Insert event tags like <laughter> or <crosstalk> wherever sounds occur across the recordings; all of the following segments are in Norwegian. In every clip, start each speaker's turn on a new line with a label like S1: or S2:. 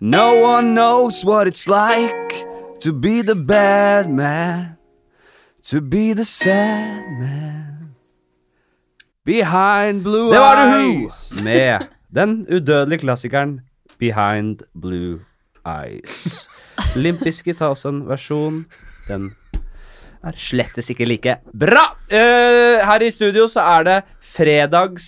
S1: No one knows what it's like to be the bad man, to be the sad man. Behind blue
S2: Det var The Who
S1: eyes.
S2: med den udødelige klassikeren Behind Blue Eyes. Limp Bizkit har også en versjon. Den er slettes ikke like bra! Eh, her i studio så er det fredags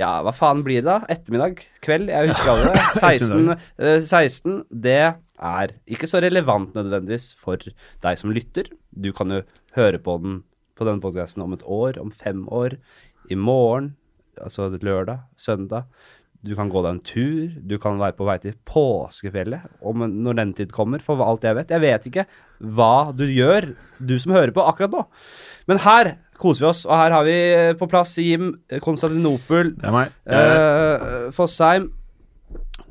S2: Ja, hva faen blir det da? Ettermiddag? Kveld? Jeg husker
S1: <laughs>
S2: aldri det. 16, eh, 16. Det er ikke så relevant nødvendigvis for deg som lytter. Du kan jo høre på den på denne podkasten om et år, om fem år, i morgen, altså lørdag, søndag. Du kan gå deg en tur, du kan være på vei til påskefjellet om, når den tid kommer, for alt jeg vet. Jeg vet ikke hva du gjør, du som hører på akkurat nå. Men her koser vi oss, og her har vi eh, på plass Jim eh, Konstantinopel,
S3: Det er meg.
S2: eh, Fossheim,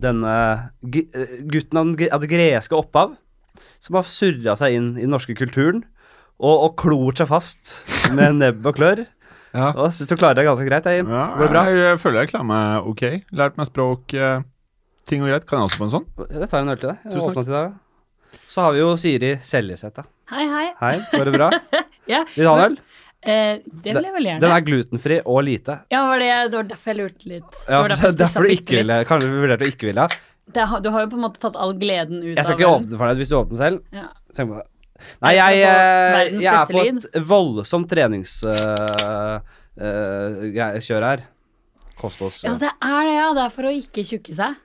S2: denne g eh, gutten av, den, gre- av det greske opphav, som har surra seg inn i den norske kulturen og, og klort seg fast med <laughs> nebb og klør.
S3: Ja.
S2: Og Jeg syns du klarer deg ganske greit. Jeg, Jim.
S3: Ja,
S2: Går det bra?
S3: Jeg, jeg føler jeg klarer meg ok. Lært meg språk, eh, ting og greit. Kan jeg også få en sånn?
S2: Jeg tar en øl til deg. Jeg
S3: Tusen takk.
S2: åpner til deg. Så har vi jo Siri Seljeseth, da.
S4: Hei, hei.
S2: Hei, går det bra?
S4: <laughs> Ja.
S2: Vil du ha en øl?
S4: Eh, det vil jeg vel
S2: Den
S4: gjerne.
S2: er glutenfri og lite.
S4: Ja, var det, det var derfor jeg lurte litt. Det
S2: Ja,
S4: var
S2: det er derfor
S4: jeg
S2: du
S4: stusset
S2: ikke ville
S4: litt.
S2: Kanskje vi vurderte å ikke ville ha.
S4: Det har- Du har jo på en måte tatt all gleden ut
S2: Jeg skal
S4: av
S2: ikke
S4: verden.
S2: åpne for deg hvis du åpner selv.
S4: Ja.
S2: Tenk på det. Nei,
S4: Jeg skal
S2: jeg,
S4: få
S2: eh,
S4: verdens
S2: jeg er
S4: beste
S2: på et voldsomt eh, treningskjør her. Kostholds...
S4: Ja, det er det, ja. Det er for å ikke tjukke seg.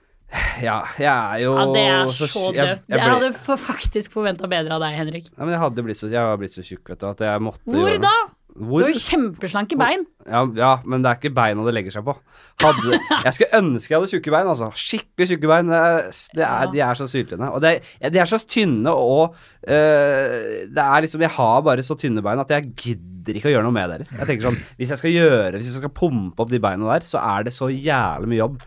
S2: Ja, jeg er jo
S4: Ja, det er
S2: så
S4: så
S2: sj- jeg-
S4: døvt.
S2: Jeg,
S4: Jeg
S2: ble-
S4: hadde for- faktisk forventa bedre av deg, Henrik.
S2: Nei, men jeg hadde blitt så, jeg har blitt så tjukk, vet du, at jeg måtte
S4: Hvor
S2: gjøre noe.
S4: da? Du
S2: Hvor?
S4: har jo kjempeslanke bein.
S2: Ja, ja, men det er ikke beina det legger seg på.
S4: <laughs>
S2: Hadde, jeg skulle ønske jeg hadde tjukke bein, altså. Skikkelig tjukke bein. Det er, det er,
S4: Ja.
S2: de er så syltynne. Og det er, ja, de er så tynne og øh, Det er liksom Jeg har bare så tynne bein at jeg gidder ikke å gjøre noe med det heller. Jeg tenker sånn Hvis jeg skal gjøre Hvis jeg skal pumpe opp de beina der, så er det så jævlig mye jobb.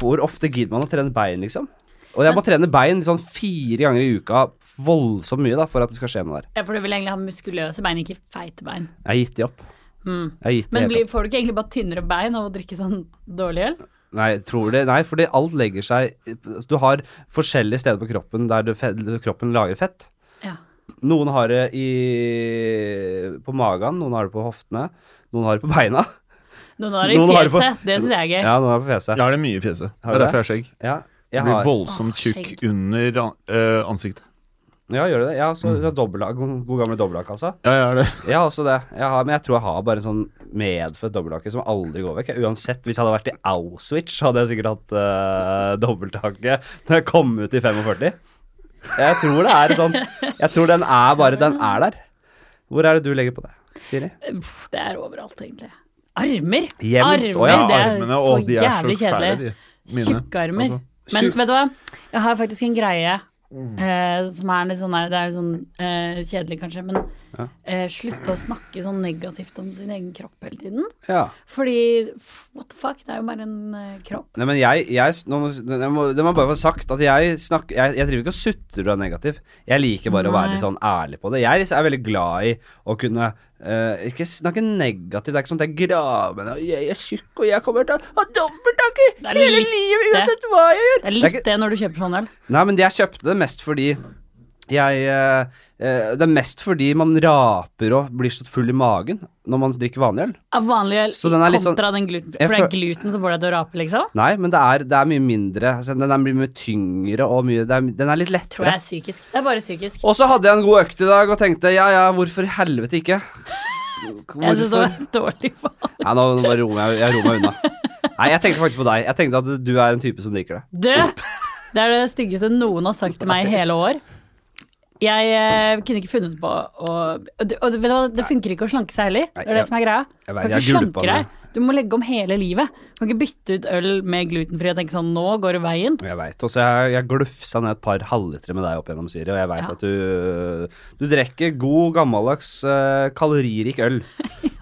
S2: Hvor ofte gidder man å trene bein, liksom? Og jeg må trene bein sånn fire ganger i uka, voldsomt mye, da, for at det skal skje noe der.
S4: Ja, for du vil egentlig ha muskuløse bein, ikke feite bein.
S2: Jeg har gitt de opp.
S4: Mm.
S2: Jeg har gitt de
S4: Men
S2: helt opp.
S4: blir, får du ikke egentlig bare tynnere bein av å drikke sånn dårlig øl?
S2: Nei, jeg tror det, nei, fordi alt legger seg Du har forskjellige steder på kroppen der du fe- kroppen lager fett.
S4: Ja.
S2: Noen har det i, på magen, noen har det på hoftene, noen har det på beina.
S4: Noen har det i
S2: Noen har det på-
S4: fjeset. Det syns jeg er gøy.
S2: Ja, noen har det på fjeset.
S3: Jeg har det mye i fjeset.
S2: Har du
S3: Det er derfor jeg har skjegg.
S2: Ja, jeg
S3: Blir
S2: har,
S3: voldsomt
S4: Åh,
S3: tjukk
S4: skjegg.
S3: under an- eh, ansiktet.
S2: ja, gjør du det? Jeg har også jeg har dobbelthak, god, god gamle dobbelthake, altså.
S3: Ja, jeg har det. <laughs>
S2: Jeg har også altså det. Jeg har, men jeg tror jeg har bare en sånn medfødt dobbelthake som aldri går vekk. Uansett, hvis jeg hadde vært i Auschwitz, hadde jeg sikkert hatt uh, dobbelthake når jeg kom ut i 45. Jeg tror det er sånn Jeg tror den er bare Den er der. Hvor er det du legger på det, Siri?
S4: Pff, Det er overalt, egentlig. Armer!
S2: Jevnt,
S4: armer,
S2: å ja,
S4: det er
S3: Armene,
S4: så
S3: å, de er så
S4: jævlig
S3: fæle,
S4: kjedelig.
S3: de. Mine.
S4: Tjukkarmer.
S3: Altså.
S4: Men
S2: Tjukk-
S4: vet du hva, jeg har faktisk en greie eh, som er litt sånn der, Det er litt sånn eh, kjedelig, kanskje, men
S2: Ja.
S4: eh, slutte å snakke sånn negativt om sin egen kropp hele tiden.
S2: Ja.
S4: Fordi f- what the fuck, det er jo bare en eh, kropp.
S2: Nei, men jeg, jeg nå må, jeg må, Det må jeg bare få sagt at jeg snakker Jeg, jeg driver ikke og sutrer og er negativ. Jeg liker bare å være
S4: Nei.
S2: litt sånn ærlig på det. Jeg er veldig glad i å kunne eh, ikke snakke negativt. Det er ikke sånn at jeg graver meg ned og jeg er tjukk og jeg kommer til å ha dobbelttakke
S4: Det er
S2: hele
S4: litt
S2: livet
S4: det.
S2: uansett hva jeg gjør.
S4: Det er
S2: Det er
S4: litt det når du kjøper sånn øl.
S2: Nei, men jeg kjøpte det mest fordi jeg eh, eh, Det er mest fordi man raper og blir så full i magen når man drikker vanlig øl.
S4: Av vanlig øl
S2: Så den er litt sånn-
S4: kontra den gluten.
S2: Jeg
S4: For det er
S2: føl-
S4: gluten som får deg til å rape, liksom.
S2: Nei, men det er, det er mye mindre. Altså, den er mye tyngre og mye det er, Den er litt lettere.
S4: Tror jeg er psykisk. Det er bare psykisk.
S2: Og så hadde jeg en god økt i dag og tenkte ja, ja, hvorfor i helvete ikke?
S4: Jeg synes det
S2: Hvorfor?
S4: var en <laughs> dårlig faen.
S2: Nei, nå nå bare roer jeg, jeg roer meg unna. Nei, jeg tenkte faktisk på deg. Jeg tenkte at du er en type som drikker det.
S4: Død! Det er det styggeste noen har sagt til meg i hele år. Jeg eh, kunne ikke funnet på å Og, du- og du- vet du hva, det funker ikke å slanke seg heller. Det
S2: Nei,
S4: er det
S2: jeg-
S4: som er greia.
S2: jeg
S4: Du
S2: vet,
S4: kan
S2: jeg
S4: ikke
S2: gulpa
S4: slanke
S2: nå.
S4: deg. Du må legge om hele livet. Du kan ikke bytte ut øl med glutenfri og tenke sånn nå går det veien.
S2: Jeg vet, også jeg, jeg glufsa ned et par halvlitere med deg opp gjennom Siri, og jeg veit
S4: Ja.
S2: at du Du drikker god, gammeldags, eh, kaloririk øl.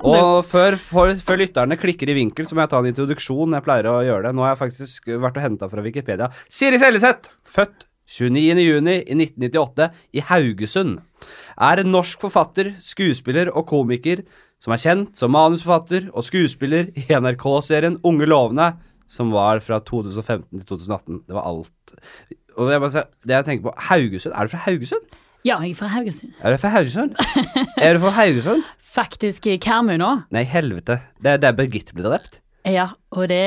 S2: Og før, for, før lytterne klikker i vinkel, så må jeg ta en introduksjon. Jeg pleier å gjøre det. Nå har jeg faktisk vært og henta fra Wikipedia. Siri Seljeseth, født 29.6.1998 i Haugesund, er en norsk forfatter, skuespiller og komiker som er kjent som manusforfatter og skuespiller i NRK-serien Unge lovende, som var fra 2015 til 2018. Det var alt og jeg bare, sa- det jeg tenker på Haugesund? Er du fra Haugesund?
S4: Ja, jeg er fra Haugesund.
S2: Er du fra
S4: <laughs>
S2: Haugesund? er du fra Haugesund?
S4: Faktisk i Karmøy nå.
S2: Nei, helvete. Det er der Birgitte ble drept.
S4: Ja, og det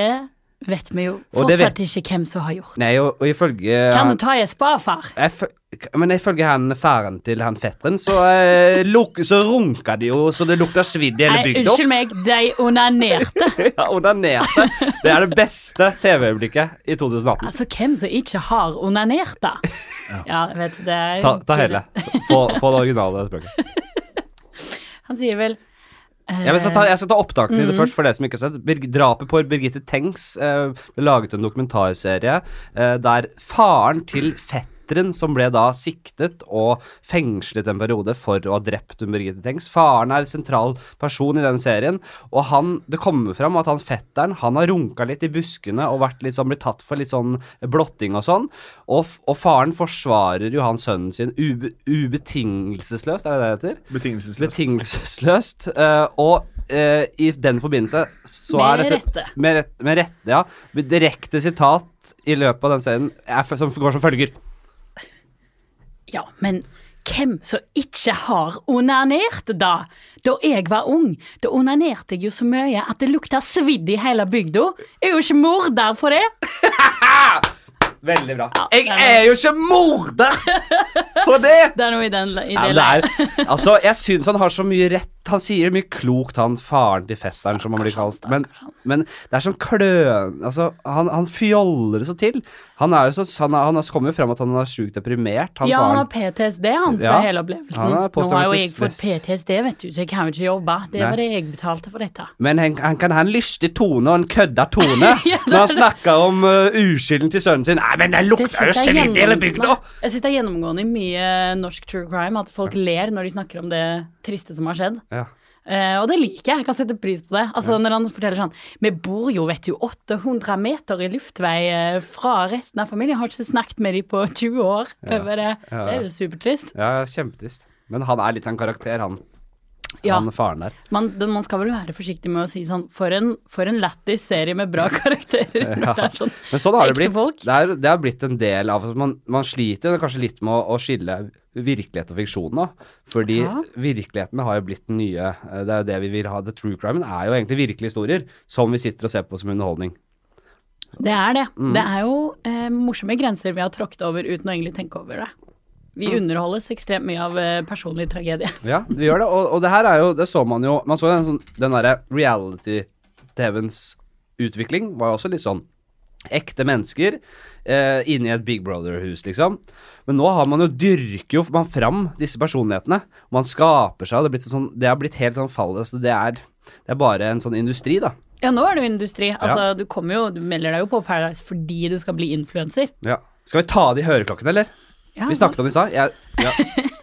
S4: vet vi jo
S2: Og det vet-
S4: fortsatt ikke hvem som har gjort.
S2: Nei, og, og ifølge
S4: Kan
S2: han-
S4: du ta i spafar?
S2: jeg, fø- men ifølge han faren til han fetteren, så, eh, luk, så runka de jo så det lukta svidd i hele
S4: Nei,
S2: bygda.
S4: unnskyld meg, de onanerte.
S2: <laughs> Ja, onanerte. Det er det beste TV-øyeblikket i 2018.
S4: Altså, hvem som ikke har onanert, da? Ja, jeg vet det er
S2: Ta, ta hele. Få, få det originale språket.
S4: Han sier vel
S2: Ja, men jeg, skal ta, jeg skal ta opptakene i det først, for det som ikke har sett. Birg drapet på Birgitte Tengs eh, ble laget en dokumentarserie eh, der faren til fetteren som ble da siktet og fengslet en periode for å ha drept hun Birgitte Tengs. Faren er en sentral person i den serien, og han, det kommer fram at han fetteren han har runka litt i buskene og vært litt sånn, blitt tatt for litt sånn blotting og sånn. Og, f- og faren forsvarer jo han sønnen sin ube, ubetingelsesløst, er det det det heter?
S3: Betingelsesløst.
S2: Betingelsesløst. eh, og eh, i den forbindelse så
S4: Med
S2: er dette
S4: rette.
S2: Med, rett, med rette. Ja. Med Direkte sitat i løpet av den serien er, f- som går som følger.
S4: Ja, men hvem som ikke har onanert, da? Da jeg var ung, da onanerte jeg jo så mye at det lukta svidd i hele bygda. Jeg er jo ikke morder for det.
S2: Veldig bra.
S4: Ja,
S2: Jeg
S4: det
S2: er
S4: er-
S2: jo ikke morder for
S4: <laughs>
S2: det!
S4: Det er noe i den i
S2: Ja,
S4: det
S2: men det er,
S4: <laughs>
S2: altså, jeg syns han har så mye rett. Han sier mye klokt, han faren til fetteren, som han blir
S4: Stakkars
S2: kalt.
S4: han,
S2: Men,
S4: stakkars han.
S2: men det er sånn kløn... Altså, han, han fjoller det så til. Han, er jo så, han, er- han kommer jo frem at han er sjukt deprimert, han
S4: ja, han har
S2: faren.
S4: PTSD han fra
S2: Ja.
S4: hele opplevelsen.
S2: Han har
S4: Nå har jo jeg
S2: posttraumatisk
S4: fått
S2: stress.
S4: PTSD, vet du, så jeg kan jo ikke jobbe. Det
S2: Nei.
S4: var det jeg betalte for dette.
S2: Men han, han kan ha en lystig tone og en kødda tone
S4: <laughs> Ja,
S2: når han snakker om uh, uskylden til sønnen sin. Nei, men det
S4: Det
S2: lukter jo
S4: synes jeg
S2: svidd i hele
S4: gjennom-
S2: bygda!
S4: Nei, Jeg synes det er gjennomgående i mye norsk true crime at folk ler når de snakker om det triste som har skjedd.
S2: Ja.
S4: Eh, og det liker jeg. Jeg kan sette pris på det. Altså Når han forteller sånn Vi bor jo vet du, 800 meter i luftvei eh, fra resten av familien. Jeg har ikke snakket med dem på 20 år. Over det.
S2: Ja,
S4: det
S2: ja.
S4: er jo supertrist.
S2: ja, kjempetrist. Men han er litt av en karakter, han.
S4: Ja.
S2: Han faren der.
S4: Man, den- man skal vel være forsiktig med å si sånn For en, for en lættis serie med
S2: <laughs>
S4: bra karakterer. Når det er sånn
S2: Men sånn har det
S4: ekte
S2: blitt.
S4: folk.
S2: Det, er, det har blitt en del av altså, man, man sliter jo kanskje litt med å, å skille virkelighet og fiksjon nå. Fordi
S4: Ja.
S2: virkeligheten har jo blitt den nye. eh, Det er jo det vi vil ha. The true crime er jo egentlig virkelige historier som vi sitter og ser på som underholdning.
S4: Det er det.
S2: Mm.
S4: Det er jo eh, morsomme grenser vi har tråkket over uten å egentlig tenke over det. Vi
S2: Mm.
S4: underholdes ekstremt mye av eh, personlig tragedie. <laughs>
S2: Ja, vi gjør det. Og, og det her er jo Det så man jo Man så den, sånn, den derre reality-TV-ens utvikling var jo også litt sånn ekte mennesker eh, inni et Big Brother-hus, liksom. Men nå har man jo dyrker jo man fram disse personlighetene. Man skaper seg, og det har blitt, sånn, det har blitt helt sånn fall... Altså, det, er, det er bare en sånn industri, da.
S4: Ja, nå er det jo industri. Altså, du, kommer jo, du melder deg jo på Paradise fordi du skal bli influenser.
S2: Ja. Skal vi ta av de høreklokkene, eller?
S4: Ja,
S2: Vi snakket om det i stad. Jeg- Ja.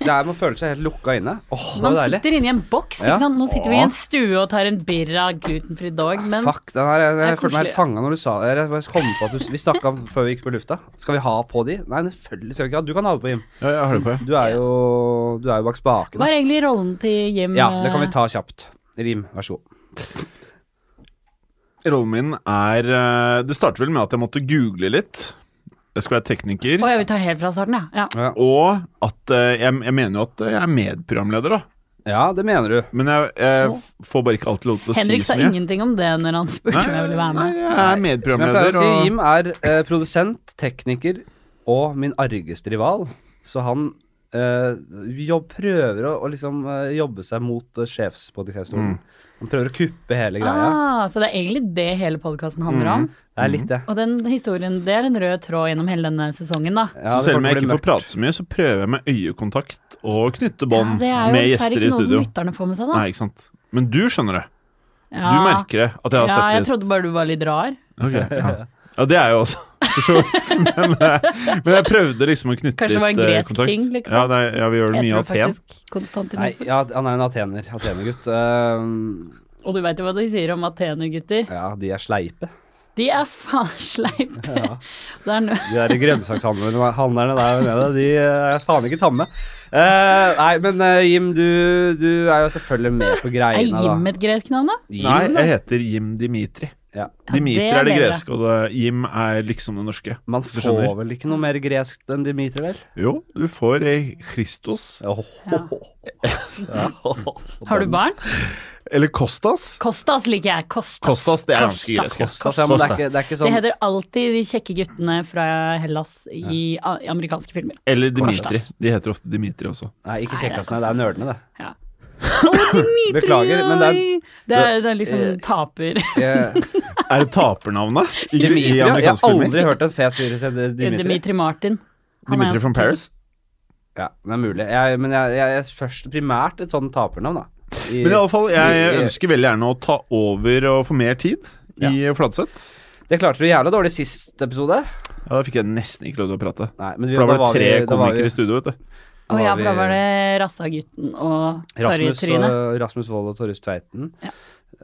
S2: Det er- Man føler seg helt lukka inne. Åh, det
S4: man
S2: var deilig.
S4: sitter inni en boks,
S2: Ja.
S4: ikke sant. Nå sitter vi i
S2: Åh. Ah,
S4: en stue og tar en birra glutenfri dog, men
S2: Fuck, den her, jeg, jeg
S4: er
S2: følte meg
S4: koselig.
S2: helt fanga når du sa det. Jeg bare kom på at du, Vi snakka om før vi gikk på lufta. Skal vi ha på de? Nei, selvfølgelig skal vi ikke ha Du kan ha det på, Jim.
S3: Ja, jeg har det på. ja.
S2: Du er jo, du er jo bak spaken.
S4: hva er egentlig rollen til Jim?
S2: Ja, det kan vi ta kjapt. Rim, vær så god.
S3: Rollen min er eh, Det starter vel med at jeg måtte google litt. Jeg skal være tekniker.
S4: eh, Å ja, vi tar helt fra starten, ja. ja.
S3: Og at eh, jeg, jeg mener jo at jeg er medprogramleder, da.
S2: Ja, det mener du.
S3: Men jeg, jeg f- får bare ikke alltid lov til å
S4: Henrik
S3: si så
S4: sa
S3: mye.
S4: ingenting om det når han spurte om jeg ville være med.
S3: Nei, jeg er
S2: Som jeg pleier
S3: medprogramleder.
S2: å si,
S3: og-
S2: Jim er eh, produsent, tekniker og min argeste rival. Så han eh, jobb, prøver å, å liksom eh, jobbe seg mot eh,
S3: Mm.
S2: sjefspodcaststolen. Han prøver å kuppe hele greia. Mhm.
S4: Ah, så det er egentlig det hele podkasten handler om.
S2: Det er litt det.
S4: Og den historien, det er en rød tråd gjennom hele denne sesongen, da.
S2: Ja,
S3: så
S2: det
S3: selv om
S2: kommer
S3: jeg
S2: til å
S3: ikke
S2: bli
S3: får prate så mye, så prøver jeg med øyekontakt og knytte bånd
S4: det er jo
S3: med
S4: dessverre
S3: gjester i
S4: ikke noe
S3: studio.
S4: som lytterne får med seg, da.
S3: Nei, ikke sant. Men du skjønner det.
S4: ja.
S3: Du merker det. At jeg har
S4: Ja,
S3: sett
S4: jeg
S3: litt.
S4: trodde bare du var litt rar.
S3: Ok, ja. ja, det er jeg også. <laughs> For så vidt. Men, eh, men jeg prøvde liksom å knytte
S4: Kanskje det var en
S3: litt eh,
S4: gresk
S3: kontakt.
S4: ting, liksom?
S3: Ja, det er, ja, vi gjør det
S4: Jeg
S3: mye
S4: tror
S3: av Aten.
S4: faktisk Konstantinopel.
S2: Nei, ja, han er en atener. Atenergutt. Ehm,
S4: Og du veit jo hva de sier om atener, gutter.
S2: ja, de er sleipe.
S4: De er faen <laughs> sleipe. Det er no-
S2: De der grønnsakshandlerne der nede, de er faen ikke tamme. Eh, nei, men eh, Jim, du, du er jo selvfølgelig med på
S4: Er
S2: greiene, da.
S4: Jim et gresk navn, da?
S2: Jim,
S3: Nei,
S2: da?
S3: jeg heter Jim Dimitri.
S2: Ja.
S3: Dimitri
S4: det er
S3: er det
S4: bedre.
S3: greske, og det, Jim er liksom det norske.
S2: Man
S3: Du
S2: får
S3: skjønner.
S2: vel ikke noe mer gresk enn Dimitri, vel?
S3: Jo, du får eh, Christos.
S2: Ja.
S4: Har du barn?
S3: Eller Kostas.
S4: Kostas liker jeg. Kostas.
S3: Kostas, det er ganske
S4: Kostas.
S3: gresk, ja.
S2: Kostas, ja, men det er ikke, det er ikke
S4: Det
S2: sånn
S4: heter alltid de kjekke guttene fra Hellas i, a- i amerikanske filmer.
S3: Eller Dimitri. De heter ofte Dimitri også.
S2: Nei, ikke
S4: Nei, altså. det er
S2: kjekkasene, det er nerdene, det.
S4: Ja. Å, Dimitri!
S2: Beklager, men det er- Eh,
S4: Det er, det er liksom taper.
S2: Jeg,
S3: Er det tapernavnet? <laughs> I,
S2: Dimitri,
S3: i
S2: ja. jeg har
S3: amerikanske filmer?
S2: aldri hørt en fet fyr som heter
S4: <laughs> Dimitri,
S2: Dimitri.
S4: Martin. Han er-
S3: Dimitri from Paris?
S2: Ja, det er mulig. Jeg, men jeg, jeg er først primært et sånn tapernavn, da. I,
S3: Men i alle fall, jeg
S2: I-
S3: ønsker veldig gjerne å ta over og få mer tid i Fladseth.
S2: det klarte du jævla dårlig sist episode.
S3: Ja, da fikk jeg nesten ikke lov til å prate.
S2: Nei, men vi,
S3: For da var det
S2: vi-
S3: tre
S2: da var vi-
S3: komikere i studio, vet du.
S4: Å ja, for da
S2: vi-
S4: var det Rassagutten og
S2: Rasmus,
S4: Torje-trynet.
S2: og- Rasmus Wold og Torjus Tveiten.
S4: Ja.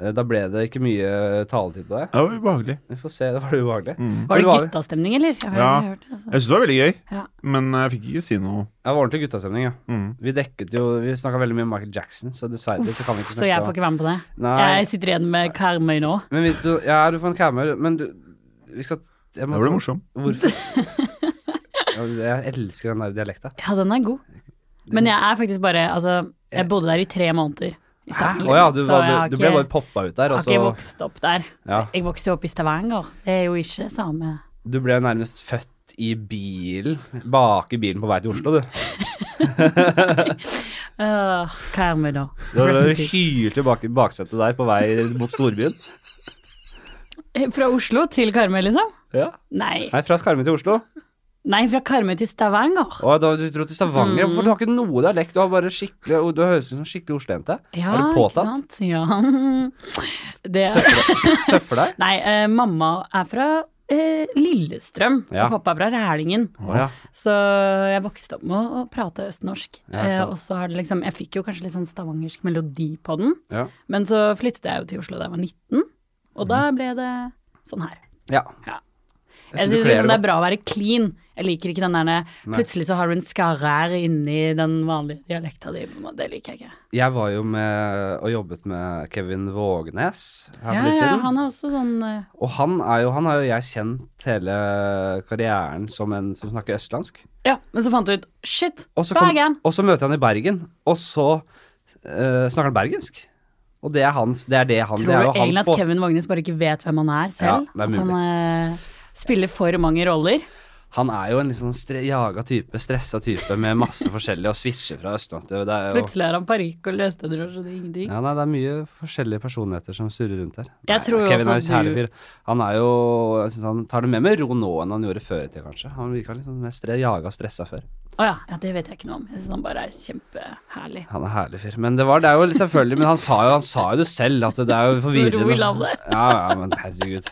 S2: Eh, Da ble det ikke mye eh, taletid på deg.
S3: Det var ubehagelig.
S2: Vi får se, <laughs> det var det ubehagelig.
S4: Var
S2: Men
S4: det
S2: det eh, var-
S4: guttastemning, eller? Jeg har
S3: Ja.
S4: aldri hørt det, altså.
S3: Jeg syns det var veldig gøy,
S4: Ja.
S3: men jeg fikk ikke si noe.
S2: Det var ordentlig guttastemning, ja.
S3: Mm.
S2: Vi dekket jo Vi snakka veldig mye om Michael Jackson, så dessverre så kan vi ikke snakke
S4: Så jeg
S2: om-
S4: får ikke være med på det.
S2: Nei.
S4: Jeg sitter igjen med Karmøy nå.
S2: Men hvis du Ja, du får en camera, men du Vi skal jeg må-
S3: Det ble morsom.
S2: Hvorfor?
S4: <laughs>
S2: Ja, jeg elsker den der dialekta.
S4: Ja, den er god. Men jeg er faktisk bare Altså, jeg bodde der i tre måneder i starten. liksom.
S2: Å ja, du,
S4: så jeg
S2: var,
S4: har
S2: du
S4: ikke,
S2: ble bare poppa ut der, og
S4: har ikke
S2: så
S4: vokst opp der.
S2: Ja.
S4: Jeg vokste jo opp i Stavanger. Det er jo ikke samme
S2: Du ble nærmest født i bilen, bak i bilen på vei til Oslo, du.
S4: Øh, Hva er vi da?
S2: <laughs> Du
S4: Rest in peace.
S2: hylte bak i baksetet der på vei mot storbyen.
S4: Fra Oslo til Karmøy, liksom?
S2: Ja.
S4: Nei.
S2: Nei, fra Skarme til Oslo.
S4: Nei, fra Karmøy til Stavanger.
S2: Og da du dro til
S4: Mm.
S2: Stavanger, for du har ikke noe dialekt. Du har bare skikkelig og Du høres ut som skikkelig oslojente.
S4: Ja,
S2: er du påtatt?
S4: Ikke sant? Ja. <laughs> Det er
S2: <laughs> Tøffer deg?
S4: Nei, eh, mamma er fra eh, Lillestrøm,
S2: Ja.
S4: og pappa er fra Rælingen.
S2: Å ja.
S4: Så jeg vokste opp med å- å prate østnorsk.
S2: Ja, ikke
S4: eh,
S2: sant.
S4: og så har det liksom Jeg fikk jo kanskje litt sånn stavangersk melodi på den,
S2: ja.
S4: men så flyttet jeg jo til Oslo da jeg var 19, og da ble det sånn her.
S2: Ja.
S4: Ja.
S2: Mhm. synes
S4: Jeg
S2: du
S4: syns
S2: kler
S4: liksom det
S2: det
S4: er bra å være clean. Jeg liker ikke den der Plutselig så har du en skarre her inni den vanlige dialekta di. på en måte. Det liker jeg ikke.
S2: Jeg var jo med og jobbet med Kevin Vågenes her
S4: Ja,
S2: for litt
S4: ja,
S2: siden.
S4: han er også sånn eh,
S2: Og han er jo, han er jo jeg kjent hele karrieren som en som snakker østlandsk.
S4: Ja, men så fant du ut Shit,
S2: Og så, kom,
S4: Bergen!
S2: og så møter jeg han i Bergen, og så eh, snakker han bergensk. Og det er hans, det er det han, det er
S4: Tror
S2: jo
S4: du egentlig
S2: hans
S4: at
S2: for,
S4: Kevin Vågenes bare ikke vet hvem han er selv?
S2: Ja, det er
S4: at han eh, spiller for mange roller?
S2: Han er jo en litt sånn stre, jaga type, stressa type med masse <laughs> forskjellig, og switcher fra østlandet til det er jo,
S4: Plutselig har han parykk og løsnedrosje og det er ingenting.
S2: ja, nei, det er mye forskjellige personligheter som surrer rundt her.
S4: Jeg
S2: Nei,
S4: tror jo
S2: Kevin er
S4: også
S2: en kjære
S4: du-
S2: fyr. Han er jo Jeg syns han tar det med med ro nå enn han gjorde før i tida, kanskje. Han virka litt sånn mer stre, jaga og stressa før.
S4: Å ja. ja, det vet jeg ikke noe om. Jeg syns han bare er kjempeherlig.
S2: Han er herlig fyr. Men det var det er jo litt selvfølgelig Men han sa jo, han sa jo det selv, at det er jo forvirrende.
S4: Ro i landet.
S2: sånn. Ja, ja, men herregud.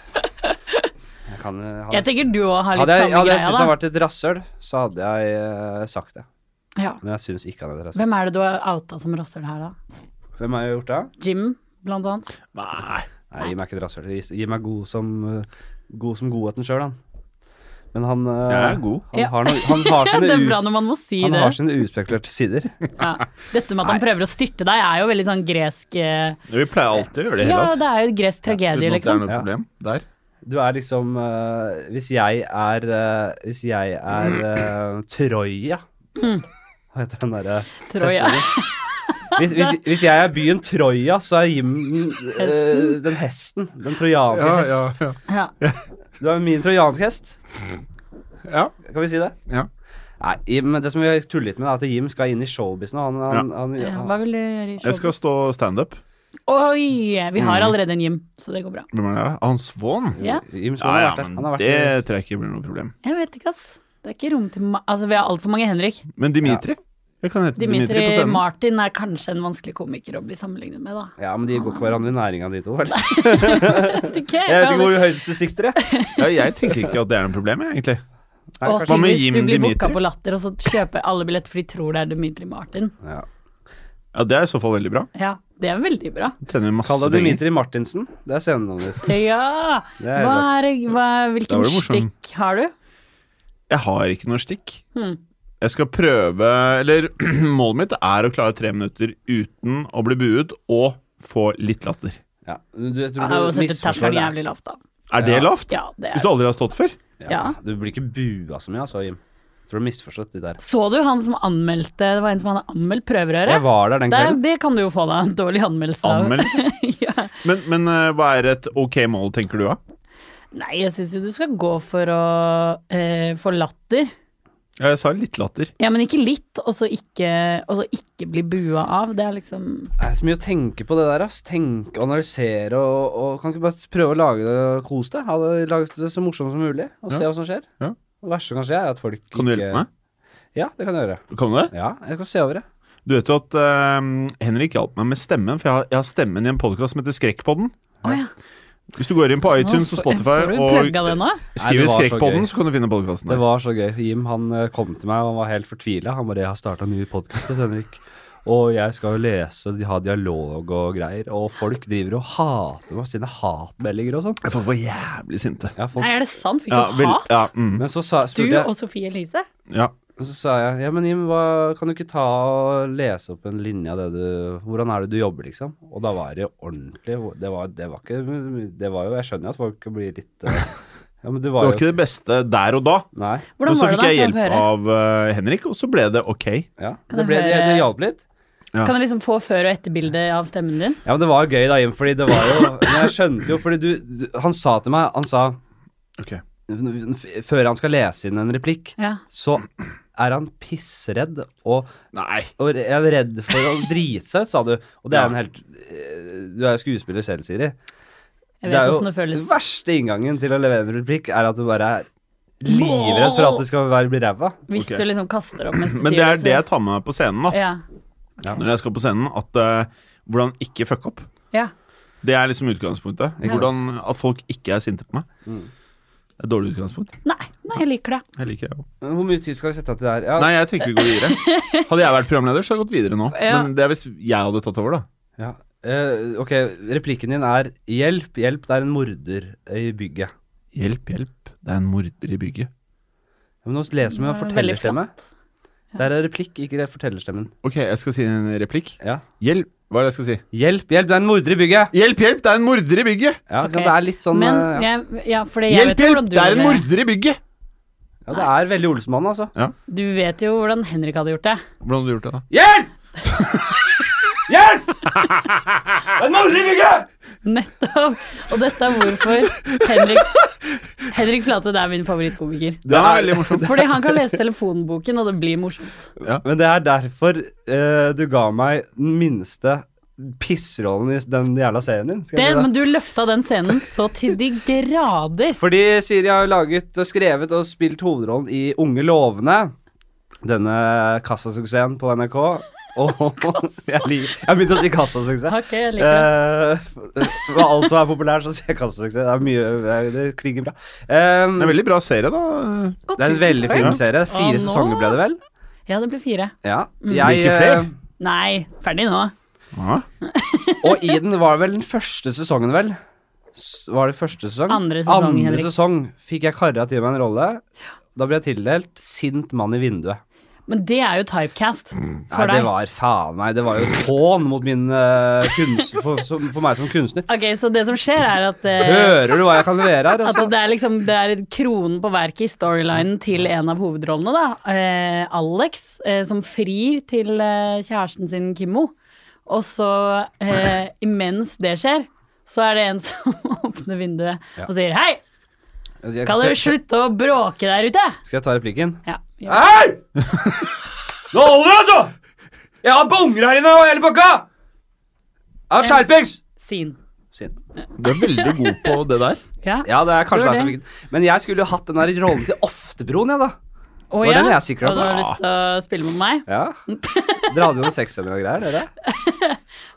S2: Jeg kan eh, ha-
S4: Jeg tenker du òg har litt
S2: Hadde jeg,
S4: samme
S2: hadde jeg syntes han
S4: greia, da.
S2: vært et rasshøl, så hadde jeg eh, sagt det.
S4: Ja.
S2: Men jeg syns ikke han er et rasshøl.
S4: Hvem er det du har outa som rasshøl her, da?
S2: Hvem har jeg gjort det?
S4: Jim, blant annet?
S3: Nei.
S2: Nei, gi meg ikke et rasshøl. Gi, gi meg god som, eh, god som godheten sjøl, han. Men han, eh,
S3: Jeg er god.
S2: han,
S4: Ja.
S2: har, noe, han
S4: <laughs>
S2: har
S4: det
S2: sine,
S4: er bra
S2: ut,
S4: når man må si
S2: han
S4: det.
S2: har sine uspekulerte sider.
S4: Ja. Dette med
S2: <laughs>
S4: at han prøver å styrte deg, er jo veldig sånn gresk eh,
S3: Vi pleier alltid å gjøre det i
S4: Ja,
S3: Hellas.
S4: det er jo gresk tragedie,
S3: Uten at det er
S4: liksom.
S3: noe
S2: Ja.
S3: problem der.
S2: Du er liksom eh, Hvis jeg er eh, Hvis jeg er eh, Troja
S4: Hmm.
S2: Hva heter den derre
S4: Tror jeg.
S2: hvis,
S4: <laughs>
S2: hvis, hvis jeg er byen Troja, så er Jim eh, den hesten. Den trojanske
S3: Ja,
S2: hest.
S3: ja, ja.
S4: Ja.
S2: Du er min trojanske hest.
S3: ja.
S2: Kan vi si det?
S3: ja.
S2: Nei, Jim, det som vi har tullet litt med, er at Jim skal inn i showbiz nå. Han, han, han,
S4: Ja,
S2: han,
S4: Hva vil du gjøre i
S3: Jeg
S4: showbiz?
S3: skal stå standup.
S4: Oi! Vi har allerede en Jim, så det går bra.
S3: Hvem er det? Hans Svaan?
S4: Ja,
S2: Jim Swan
S3: Ja,
S2: har
S3: ja,
S2: vært der. Han
S3: men
S2: har vært
S3: det
S2: i-
S3: tror jeg ikke blir noe problem.
S4: jeg vet ikke, ass. Det er ikke rom til ma Altså, vi har altfor mange Henrik.
S3: Men Dimitri? Jeg kan hete Dimitri,
S4: Dimitri
S3: på scenen.
S4: Martin er kanskje en vanskelig komiker å bli sammenlignet med, da.
S2: ja, men de går ikke hverandre i næringa,
S4: <laughs>
S2: de to. vel?
S4: Jeg vet ikke,
S2: Jeg vet ikke hvor høyt du sikter, jeg.
S3: Ja, jeg tenker ikke at det er noe problem, jeg, egentlig.
S2: Nei,
S4: Og
S2: kanskje-
S3: Hva med
S4: tydeligvis, du
S3: Jim
S4: blir
S3: Dimitri?
S4: booka på Latter, og så kjøper alle billett for de tror det er Dimitri Martin.
S2: Ja.
S3: Ja, Det er i så fall veldig bra.
S4: Ja, det er veldig bra.
S3: Tjener masse
S2: Kall deg
S3: penger.
S2: Dimitri Martinsen. Det er scenenavnet ditt.
S4: Ja!
S2: Det er
S4: Hva er,
S3: Da
S4: hva,
S3: var
S4: hvilken
S3: det morsom.
S4: stikk har du?
S3: Jeg har ikke noe stikk.
S4: Hmm.
S3: Jeg skal prøve Eller <clears throat> målet mitt er å klare tre minutter uten å bli buet og få litt latter.
S2: Ja. Du, jeg tror
S4: Jeg har jo
S2: du
S4: sett et
S2: misforstår
S4: terskelen
S2: det.
S4: jævlig lavt, da.
S3: Er det lavt?
S4: Ja, det
S3: Hvis du
S4: er.
S3: aldri har stått før?
S4: Ja.
S2: Du blir ikke bua så mye, altså, Jim. Jeg tror du har misforstått de der.
S4: Så du han som anmeldte Det var en som hadde anmeldt
S2: Jeg
S4: prøverøret?
S2: var der den
S4: Der,
S2: kvelden.
S4: det kan du jo få deg en dårlig anmeldelse av.
S3: Anmeld.
S4: <laughs> ja.
S3: Men, men eh, hva er et ok mål, tenker du, da?
S4: Nei, jeg syns jo du skal gå for å eh, få latter.
S3: Ja, jeg sa litt latter.
S4: Ja, men ikke litt, og så ikke, og så ikke bli bua av. Det er liksom
S2: Det er så mye å tenke på det der, ass. Tenke, analysere og, og Kan ikke bare prøve å lage det og kose deg? Ha det, laget det så morsomt som mulig, og
S3: Ja.
S2: se hva som skjer.
S3: Ja.
S2: Det verste som kan skje, er at folk
S3: Kan du
S2: ikke-
S3: hjelpe meg?
S2: Ja, det kan jeg gjøre.
S3: Kan du det?
S2: Ja, jeg skal se over det.
S3: Du vet jo at eh, Henrik hjalp meg med stemmen, for jeg har, jeg har stemmen i en podkast som heter Skrekkpodden.
S4: Å ja.
S3: Hvis du går inn på iTunes og Spotify
S4: Får du
S3: og
S4: plugga det nå?
S2: Nei, det
S3: skriver
S2: var så
S3: Skrekkpodden,
S2: gøy.
S3: så kan du finne podkasten
S2: Det
S3: der.
S2: var så gøy. Jim han eh, kom til meg og han var helt fortvila. Han bare 'Jeg har starta ny podkast, Henrik', og jeg skal jo lese, de har dialog og greier, og folk driver og hater meg, sine hatmeldinger og sånn.
S3: Jeg var jævlig sinte.
S2: Ja, folk-
S4: Nei, er det sant? Fikk du
S3: Ja, vel,
S4: hat?
S3: ja, mm,
S2: Men så sa,
S4: Du
S2: spurte jeg,
S4: og Sofie Elise?
S3: ja.
S2: og så sa jeg 'Ja, men Jim, hva, kan du ikke ta og lese opp en linje av det du Hvordan er det du jobber, liksom?' Og da var det jo ordentlig Det var, det var ikke Det var jo Jeg skjønner jo at folk blir litt
S3: <laughs>
S2: eh, Ja, men du
S3: Det
S2: var
S3: var
S2: jo
S3: ikke det beste der og da,
S2: Nei.
S4: Hvordan
S3: men så
S4: var det
S3: fikk
S4: da?
S3: jeg
S4: Kan
S3: hjelp
S4: få høre?
S3: av eh, Henrik, og så ble det ok.
S2: Ja.
S4: jeg
S2: Det, ble, det,
S4: høre-
S2: det hjalp litt.
S3: Ja.
S4: Kan jeg liksom få før- og etterbilde av stemmen din?
S2: Ja, men det var jo gøy da, Jim, fordi det var jo Men jeg skjønte jo, fordi du, du Han sa til meg, han sa
S3: Ok.
S2: f- Før han skal lese inn en replikk,
S4: Ja.
S2: så er han pissredd og,
S3: Nei.
S2: og re- er redd for å drite seg ut, sa du. Og det er
S3: Ja.
S2: en helt eh, Du er jo skuespiller selv, Siri.
S4: Jeg vet åssen det føles.
S2: Den verste inngangen til å levere en replikk er at du bare er livredd for at det skal være bli ræva.
S4: Hvis
S3: Ok.
S4: du liksom kaster opp mens
S3: <clears throat>
S4: du
S3: Men det
S4: sier
S3: er det
S4: så-
S3: jeg tar med meg på scenen, da.
S4: Ja.
S3: Når jeg skal på scenen, at eh, hvordan ikke fucke opp.
S4: ja.
S3: Det er liksom utgangspunktet. Hvordan At folk ikke er sinte på meg. Det er et dårlig utgangspunkt.
S4: Nei, nei, jeg liker det.
S3: Jeg liker det også.
S2: Men Hvor mye tid skal vi sette av til det her? Ja,
S3: Nei, jeg tenker vi går
S4: <laughs>
S3: videre. Hadde jeg vært programleder, så hadde jeg gått videre nå.
S4: Ja.
S3: Men det er hvis jeg hadde tatt over, da.
S2: ja. Eh, ok, replikken din er 'Hjelp, hjelp, det er en morder i bygget'.
S3: Hjelp, hjelp. Det er en morder i bygget.
S2: Ja, Men nå leser vi
S4: Det
S2: med
S4: er
S2: fortellerstemme.
S4: veldig flott.
S2: Det er en replikk, ikke det fortellerstemmen.
S3: Ok, jeg skal si en replikk.
S2: Ja.
S3: Hjelp. Hva er det jeg skal si?
S2: Hjelp, hjelp, det er en morder i bygget!
S3: Hjelp, hjelp, det er en morder i bygget!
S2: Ja,
S4: Ok.
S2: så Det er litt sånn
S4: Men
S2: eh, ja.
S4: jeg, ja, fordi jeg
S3: Hjelp,
S4: vet jo
S3: hjelp,
S4: hvordan du
S3: det er en
S4: ville-
S3: morder i bygget!
S2: ja, det er veldig Olsenmannen, altså.
S4: Du vet jo hvordan Henrik hadde gjort det.
S3: Hvordan hadde du gjort det, da?
S2: Hjelp! <laughs> hjelp! <laughs> Det er en morder i bygget!
S4: Nettopp. Og dette er hvorfor Henrik, Henrik Flate det er min favorittkomiker.
S3: Det er veldig
S4: <laughs>
S3: morsomt.
S4: Fordi han kan lese telefonboken, og det blir morsomt.
S2: Men det er derfor eh, du ga meg den minste pissrollen i den jævla serien din. Skal
S4: Det,
S2: jeg si det?
S4: men du løfta den scenen så til de grader.
S2: Fordi Siri har jo laget, og skrevet og spilt hovedrollen i Unge lovende. Denne kassasuksessen på NRK. Og <laughs> jeg, liker, jeg begynte å si kassasuksess.
S4: Ok, jeg liker det.
S2: Eh, Hva alt som er populært, så sier jeg kassasuksess. Det er mye det- Det klinger bra. Eh,
S3: Det er en veldig bra serie, da.
S2: det er en veldig fin serie.
S4: Og
S2: Fire
S4: nå- Mm.
S2: sesonger ble det vel?
S4: Ja, det blir fire.
S2: Ja.
S3: Blir ikke flere?
S2: eh,
S4: Nei, ferdig nå.
S3: Ja.
S2: og i den var det vel den første sesongen, vel? S- Var det første sesong?
S4: Andre sesong,
S2: Andre
S4: Henrik.
S2: sesong fikk jeg kara til meg en rolle. Da ble jeg tildelt sint mann i vinduet.
S4: Men det er jo typecast
S2: Mm. Nei,
S4: for
S2: det
S4: deg.
S2: var faen meg Det var jo et hån mot min eh, kunst, for, som, for meg som kunstner.
S4: Ok, så det som skjer er at eh,
S2: Hører du hva jeg kan levere her?
S4: At
S2: Altså?
S4: det er liksom Det er kronen på verket i storylinen til en av hovedrollene, da. Eh, Alex, eh, som frir til eh, kjæresten sin Kimmo. Og så, eh, imens det skjer, så er det en som <laughs> åpner vinduet og sier Hei,
S2: Jeg
S4: kan dere
S2: skal,
S4: slutte å bråke der ute?
S2: skal jeg ta replikken?
S4: Ja. ja.
S2: Hei! Nå holder det, altså! Jeg har bonger her inne og hele pakka! Jeg har skjerpings!
S4: Sin.
S3: Du er veldig god på det der.
S4: Ja.
S2: Ja, det er kanskje
S4: Gjør
S2: derfor jeg
S4: det.
S2: fikk den. Men jeg skulle jo hatt den der rollen til Oftebroen, jeg, da.
S4: Og
S2: var
S4: ja,
S2: den jeg sikret
S4: og du har
S2: på.
S4: lyst til å spille mot meg?
S2: Ja. Dere hadde jo noen sexscener og greier, dere.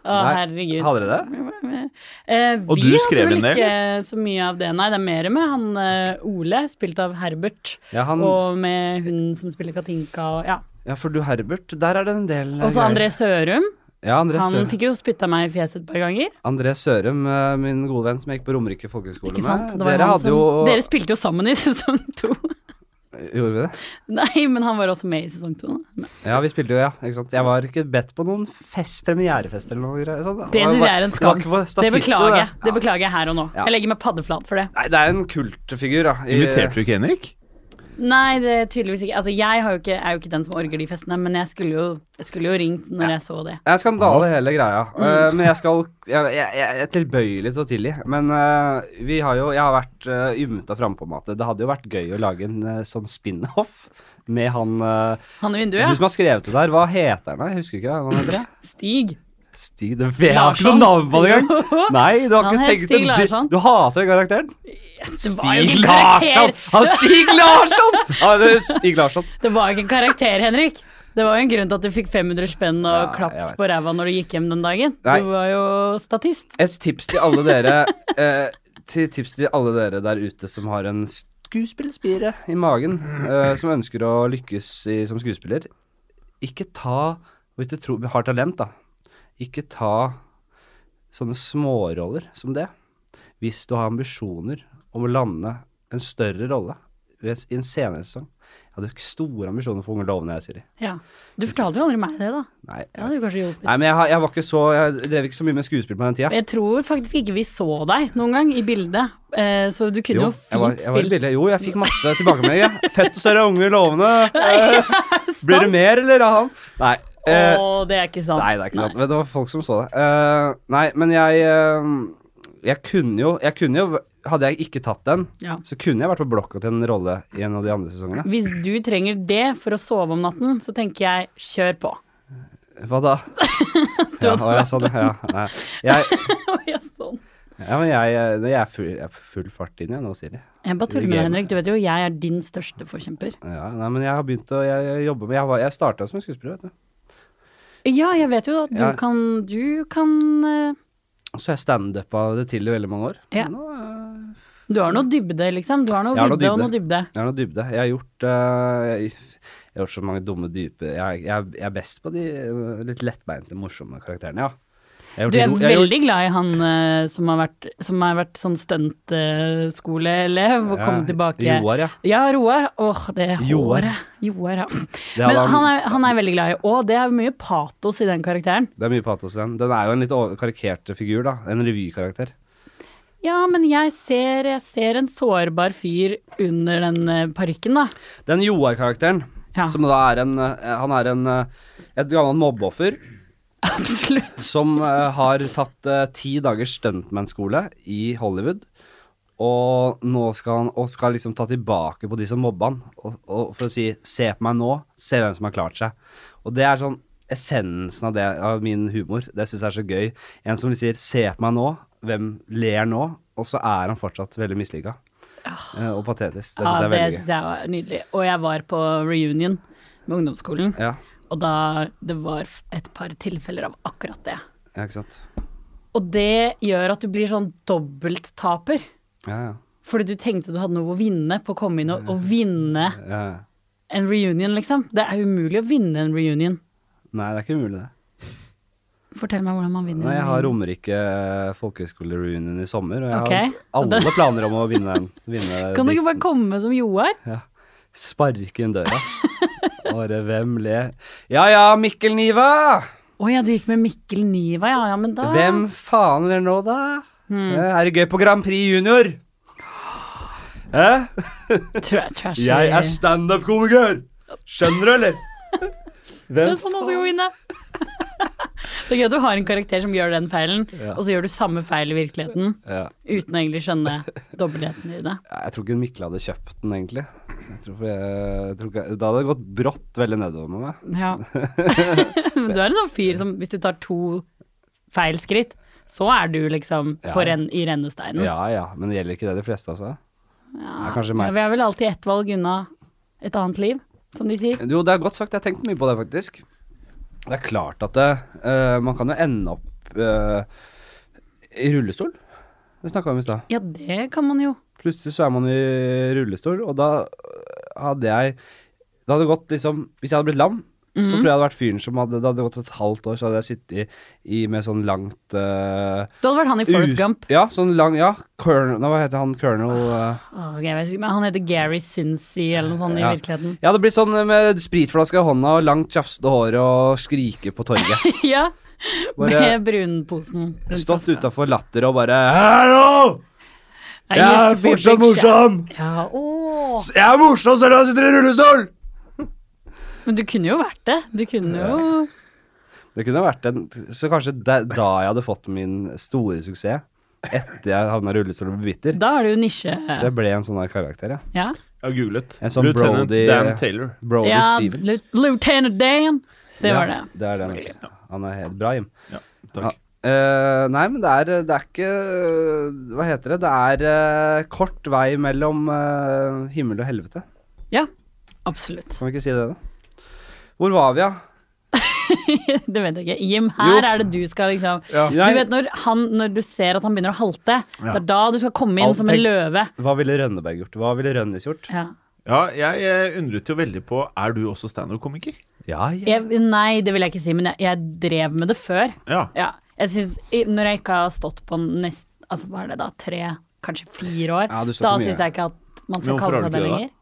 S4: Å,
S2: Nei,
S4: herregud.
S2: Hadde dere det?
S4: Eh,
S3: Og
S4: vi
S3: du
S4: hadde
S3: skrev
S4: vel
S3: inn det,
S4: ikke så mye av det, nei. Det er mer med han eh, Ole, spilt av Herbert,
S2: Ja, han,
S4: og med hun som spiller Katinka og ja.
S2: ja, for du Herbert, der er det en del eh,
S4: Også André
S2: greier.
S4: Sørum.
S2: Ja, André
S4: Han
S2: Sørum.
S4: fikk jo spytta meg i fjeset et par ganger.
S2: André Sørum, eh, min gode venn som jeg gikk på Romerike folkehøgskole
S4: Ikke
S2: med.
S4: sant? Det var
S2: Dere
S4: han
S2: hadde
S4: <laughs> som,
S2: jo
S4: dere spilte jo sammen i sesong to.
S2: Gjorde vi det?
S4: Nei, men han var også med i sesong to. da.
S2: Ja, vi spilte jo, ja. Ikke sant? Jeg var ikke bedt på noen fest, premierefest eller noe greier. Sånn.
S4: Det syns jeg er en skam. Det beklager jeg. Det
S2: beklager.
S4: beklager jeg her og nå.
S2: Ja.
S4: Jeg legger meg paddeflat for det.
S2: Nei, det er en kultfigur, da. i-
S3: <laughs> Inviterte du ikke Henrik?
S4: Nei, det er tydeligvis ikke. Altså, jeg har jo ikke, er jo ikke den som orger de festene, men jeg skulle jo, jeg skulle jo ringt når jeg så det.
S2: Det er en skandale, hele greia.
S4: Mm.
S2: Eh, men jeg skal Jeg, jeg, jeg er tilbøyelig til å tilgi. Men eh, vi har jo Jeg har vært uh, ymta frampå med at det hadde jo vært gøy å lage en eh, sånn spin-off med han eh,
S4: Han i
S2: Du
S4: vinduet,
S2: som har skrevet det der, hva heter han? da? Jeg husker ikke hva han heter. jeg.
S4: Stig.
S2: Stig det vet jeg har ikke
S4: Larsson.
S2: noe navn på det engang!
S4: <laughs> Jo.
S2: Nei, du har
S4: Han
S2: ikke
S4: het
S2: tenkt
S4: Stig
S2: en dritt.
S4: Larsson.
S2: Du hater den karakteren?
S4: Det var jo ikke en
S2: Larsson!
S4: karakter.
S2: Han Stig Larsson!
S4: <laughs>
S2: Ja, det er Stig Larsson.
S4: Det var jo ikke en karakter, Henrik. Det var jo en grunn til at du fikk 500 spenn og
S2: Ja, jeg
S4: klaps
S2: vet.
S4: på ræva når du gikk hjem den dagen.
S2: Nei.
S4: Du var jo statist.
S2: Et tips til alle dere <laughs> eh, til Tips til alle dere der ute som har en skuespillerspire i magen, eh, som ønsker å lykkes i, som skuespiller. Ikke ta Hvis du tror, har talent, da. Ikke ta sånne småroller som det. Hvis du har ambisjoner om å lande en større rolle ved- i en senere sesong. Jeg hadde jo ikke store ambisjoner for Unge lovende, jeg, Siri.
S4: Ja. Du fortalte jo aldri meg det, da.
S2: Nei, jeg,
S4: Det
S2: vet
S4: hadde
S2: ikke.
S4: jo kanskje hjulpet.
S2: Nei men jeg, har- jeg var ikke så Jeg drev ikke så mye med skuespill på den tida.
S4: Jeg tror faktisk ikke vi så deg noen gang i bildet, eh, så du kunne jo,
S2: jeg var,
S4: fint
S2: jeg var i
S4: spilt.
S2: bildet. Jo, jeg fikk masse tilbakemeldinger. jeg. Fett å se deg unge lovende.
S4: <laughs>
S2: Eh, <laughs> Blir det mer, eller? av han? Nei. eh,
S4: Å, det er ikke sant.
S2: nei, det er ikke sant. Men det var folk som så det. Eh, nei, men jeg eh, Jeg kunne jo Jeg kunne jo Hadde jeg ikke tatt den,
S4: Ja.
S2: så kunne jeg vært på blokka til en rolle i en av de andre sesongene.
S4: Hvis du trenger det for å sove om natten, så tenker jeg kjør <laughs> på.
S2: Hva
S4: <laughs>
S2: da? Ja, å, jeg sa det. sånn? Ja, nei. Jeg,
S4: Ja, sånn.
S2: ja, men jeg, eh, jeg, er full, jeg er på full fart inn, jeg nå, Siri.
S4: Jeg bare tuller med deg, Henrik. Du vet jo jeg er din største forkjemper.
S2: Ja, nei, men jeg har begynt å Jeg, jeg jobber med Jeg, var- jeg starta som en skuespiller, vet du.
S4: Ja, jeg vet jo at du
S2: Ja.
S4: kan Du kan eh,
S2: Så jeg standupa det til i veldig mange år.
S4: Ja.
S2: Nå, eh,
S4: Du har noe dybde, liksom. Du har noe
S2: Jeg har noe
S4: vidde
S2: dybde.
S4: og noe dybde.
S2: jeg har noe dybde. Jeg har gjort eh, jeg, jeg har gjort så mange dumme, dype Jeg, jeg, jeg er best på de eh, litt lettbeinte, morsomme karakterene, ja. Jeg har gjort
S4: Du er
S2: iro- jeg har gjort-
S4: veldig glad i han eh, som har vært, som har vært sånn stuntskoleelev og
S2: Ja,
S4: kom tilbake.
S2: Roar, ja.
S4: Ja, Roar. Åh, det
S2: Joar.
S4: håret. Joar, ja.
S2: Det hadde
S4: Men
S2: han-
S4: han er, han er veldig glad i Å, det er mye patos i den karakteren.
S2: Det er mye patos i den. Den er jo en litt over- karikert figur, da. En revykarakter.
S4: Ja, men jeg ser, jeg ser en sårbar fyr under den eh, parykken, da. <laughs>
S2: Den Joar-karakteren,
S4: Ja.
S2: som da er en eh, Han er en eh, et gammelt mobbeoffer
S4: Absolutt.
S2: som eh, har tatt eh, ti dagers stuntman-skole i Hollywood. Og nå skal han og skal liksom ta tilbake på de som mobba han, og, og for å si 'se på meg nå', se hvem som har klart seg. Og det er sånn essensen av det, av min humor. Det syns jeg er så gøy. En som sier 'se på meg nå', hvem ler nå? Og så er han fortsatt veldig mislykka. Eh, og patetisk. Det syns jeg
S4: Ja,
S2: er
S4: Ah, det
S2: veldig gøy.
S4: syns jeg var nydelig. Og jeg var på reunion med ungdomsskolen,
S2: Ja,
S4: og da det var f- et par tilfeller av akkurat det.
S2: ja, ikke sant.
S4: Og det gjør at du blir sånn dobbelttaper.
S2: Ja, ja.
S4: Fordi du tenkte du hadde noe å vinne på å komme inn og, og vinne
S2: ja. ja.
S4: en reunion, liksom. Det er umulig å vinne en reunion.
S2: Nei, det er ikke umulig, det.
S4: Fortell meg hvordan man vinner.
S2: Nei, jeg
S4: en
S2: har
S4: reunion.
S2: Romerike folkehøgskole-reunion i sommer, og jeg
S4: Ok.
S2: har
S4: Og da-
S2: alle planer om å vinne den. Vinne
S4: <laughs> Kan du ikke bare
S2: dritten.
S4: komme som Joar?
S2: Sparke inn døra. Bare hvem ler Ja ja, Mikkel Niva!
S4: Å ja, du gikk med Mikkel Niva, ja, ja, men da Hmm,
S2: Hvem faen ler nå, da?
S4: Mm.
S2: Eh, Er det gøy på Grand Prix Junior? Hæ?
S4: Tra trashy.
S2: Jeg er standup-komiker! Skjønner du, eller?
S4: Det
S2: Hvem
S4: er sånn at du skal vinne. <laughs> Det er gøy at du har en karakter som gjør den feilen,
S2: Ja.
S4: og så gjør du samme feil i virkeligheten
S2: ja.
S4: uten å egentlig skjønne dobbeltheten i det.
S2: Jeg tror ikke Mikkel hadde kjøpt den, egentlig. Jeg tror, for jeg, jeg tror ikke, da hadde det gått brått veldig nedover med meg. <laughs>
S4: Ja. Men du er en sånn fyr som hvis du tar to feil skritt, så er du liksom
S2: Ja.
S4: på ren i rennesteinen.
S2: Ja ja, men det gjelder ikke det de fleste, altså?
S4: Ja,
S2: kanskje meg.
S4: ja, Vi er vel alltid ett valg unna et annet liv, som de sier.
S2: Jo, det er godt sagt. Jeg har tenkt mye på det, faktisk. Det er klart at det, eh, man kan jo ende opp eh, i rullestol. Det snakka vi om i stad.
S4: Ja, det kan man jo.
S2: Plutselig så er man i eh, rullestol, og da hadde jeg Da hadde det gått liksom Hvis jeg hadde blitt lam, så tror jeg det hadde vært fyren som hadde Det hadde gått et halvt år, så hadde jeg sittet i, i med sånn langt eh,
S4: Du hadde vært han i Forest
S2: ut-
S4: Gump.
S2: Ja, sånn lang Ja, colonel Nei, hva heter han? Colonel eh,
S4: Åh, jeg vet ikke, men han heter Gary Sinsi eller noe sånt
S2: Ja. <laughs>
S4: i virkeligheten. <laughs>
S2: Ja, det blir sånn med spritflaska i hånda og langt tjafsete hår og skrike på
S4: <laughs>
S2: torget.
S4: ja.
S2: Bare-
S4: Med brunposen. rundt
S2: Stått
S4: hofta.
S2: utafor latter og bare Hallo!
S4: I
S1: Jeg
S4: used
S1: er
S4: to be a
S1: fortsatt
S4: big shot.
S1: morsom!
S4: Ja, åh.
S1: Jeg er morsom selv om jeg sitter i rullestol!
S4: Men du kunne jo vært det. Du kunne jo
S2: Det kunne vært en Så kanskje da, da jeg hadde fått min store suksess, etter jeg havna i rullestol og ble bitter,
S4: Da er du jo nisje...
S2: så jeg ble en sånn der karakter, ja.
S4: Ja.
S3: Jeg har googlet.
S2: En sånn
S3: Lieutenant
S2: Brody-
S3: Dan Taylor.
S2: Brody
S4: ja
S2: Stevens.
S4: Lu- Lieutenant Dan. Det
S2: Ja,
S4: var det.
S2: Det er det.
S4: Selvfølgelig.
S2: Han er helt bra, Jim.
S3: Takk.
S2: Ja. Eh, nei, men det er, det er ikke eh, Hva heter det? Det er eh, kort vei mellom eh, himmel og helvete.
S4: Ja, absolutt.
S2: Kan vi ikke si det, da? Hvor var vi, ja?
S4: <laughs> det vet jeg ikke. Jim, her
S2: Jo.
S4: er det du skal liksom Du
S2: Jeg-
S4: vet når, han, når du ser at han begynner å halte, det er da du skal komme inn
S2: Alt
S4: som en
S2: tenk-
S4: løve.
S2: Hva ville Rønneberg gjort? Hva ville Rønnis gjort?
S4: Ja.
S3: Ja, jeg eh, undret jo veldig på Er du også standup-komiker?
S2: Ja, ja.
S4: Jeg, nei, det vil jeg ikke si, men jeg, jeg drev med det før.
S3: Ja.
S4: Ja. Jeg synes, i- når jeg ikke har stått på nest, altså, hva er det da, tre, kanskje fire år,
S2: Ja, du står
S4: da
S2: på mye.
S4: syns jeg ikke at man
S3: Men
S4: skal
S3: hvorfor
S4: kalle
S3: har
S4: seg
S3: du
S4: det
S3: ikke
S4: lenger.
S3: det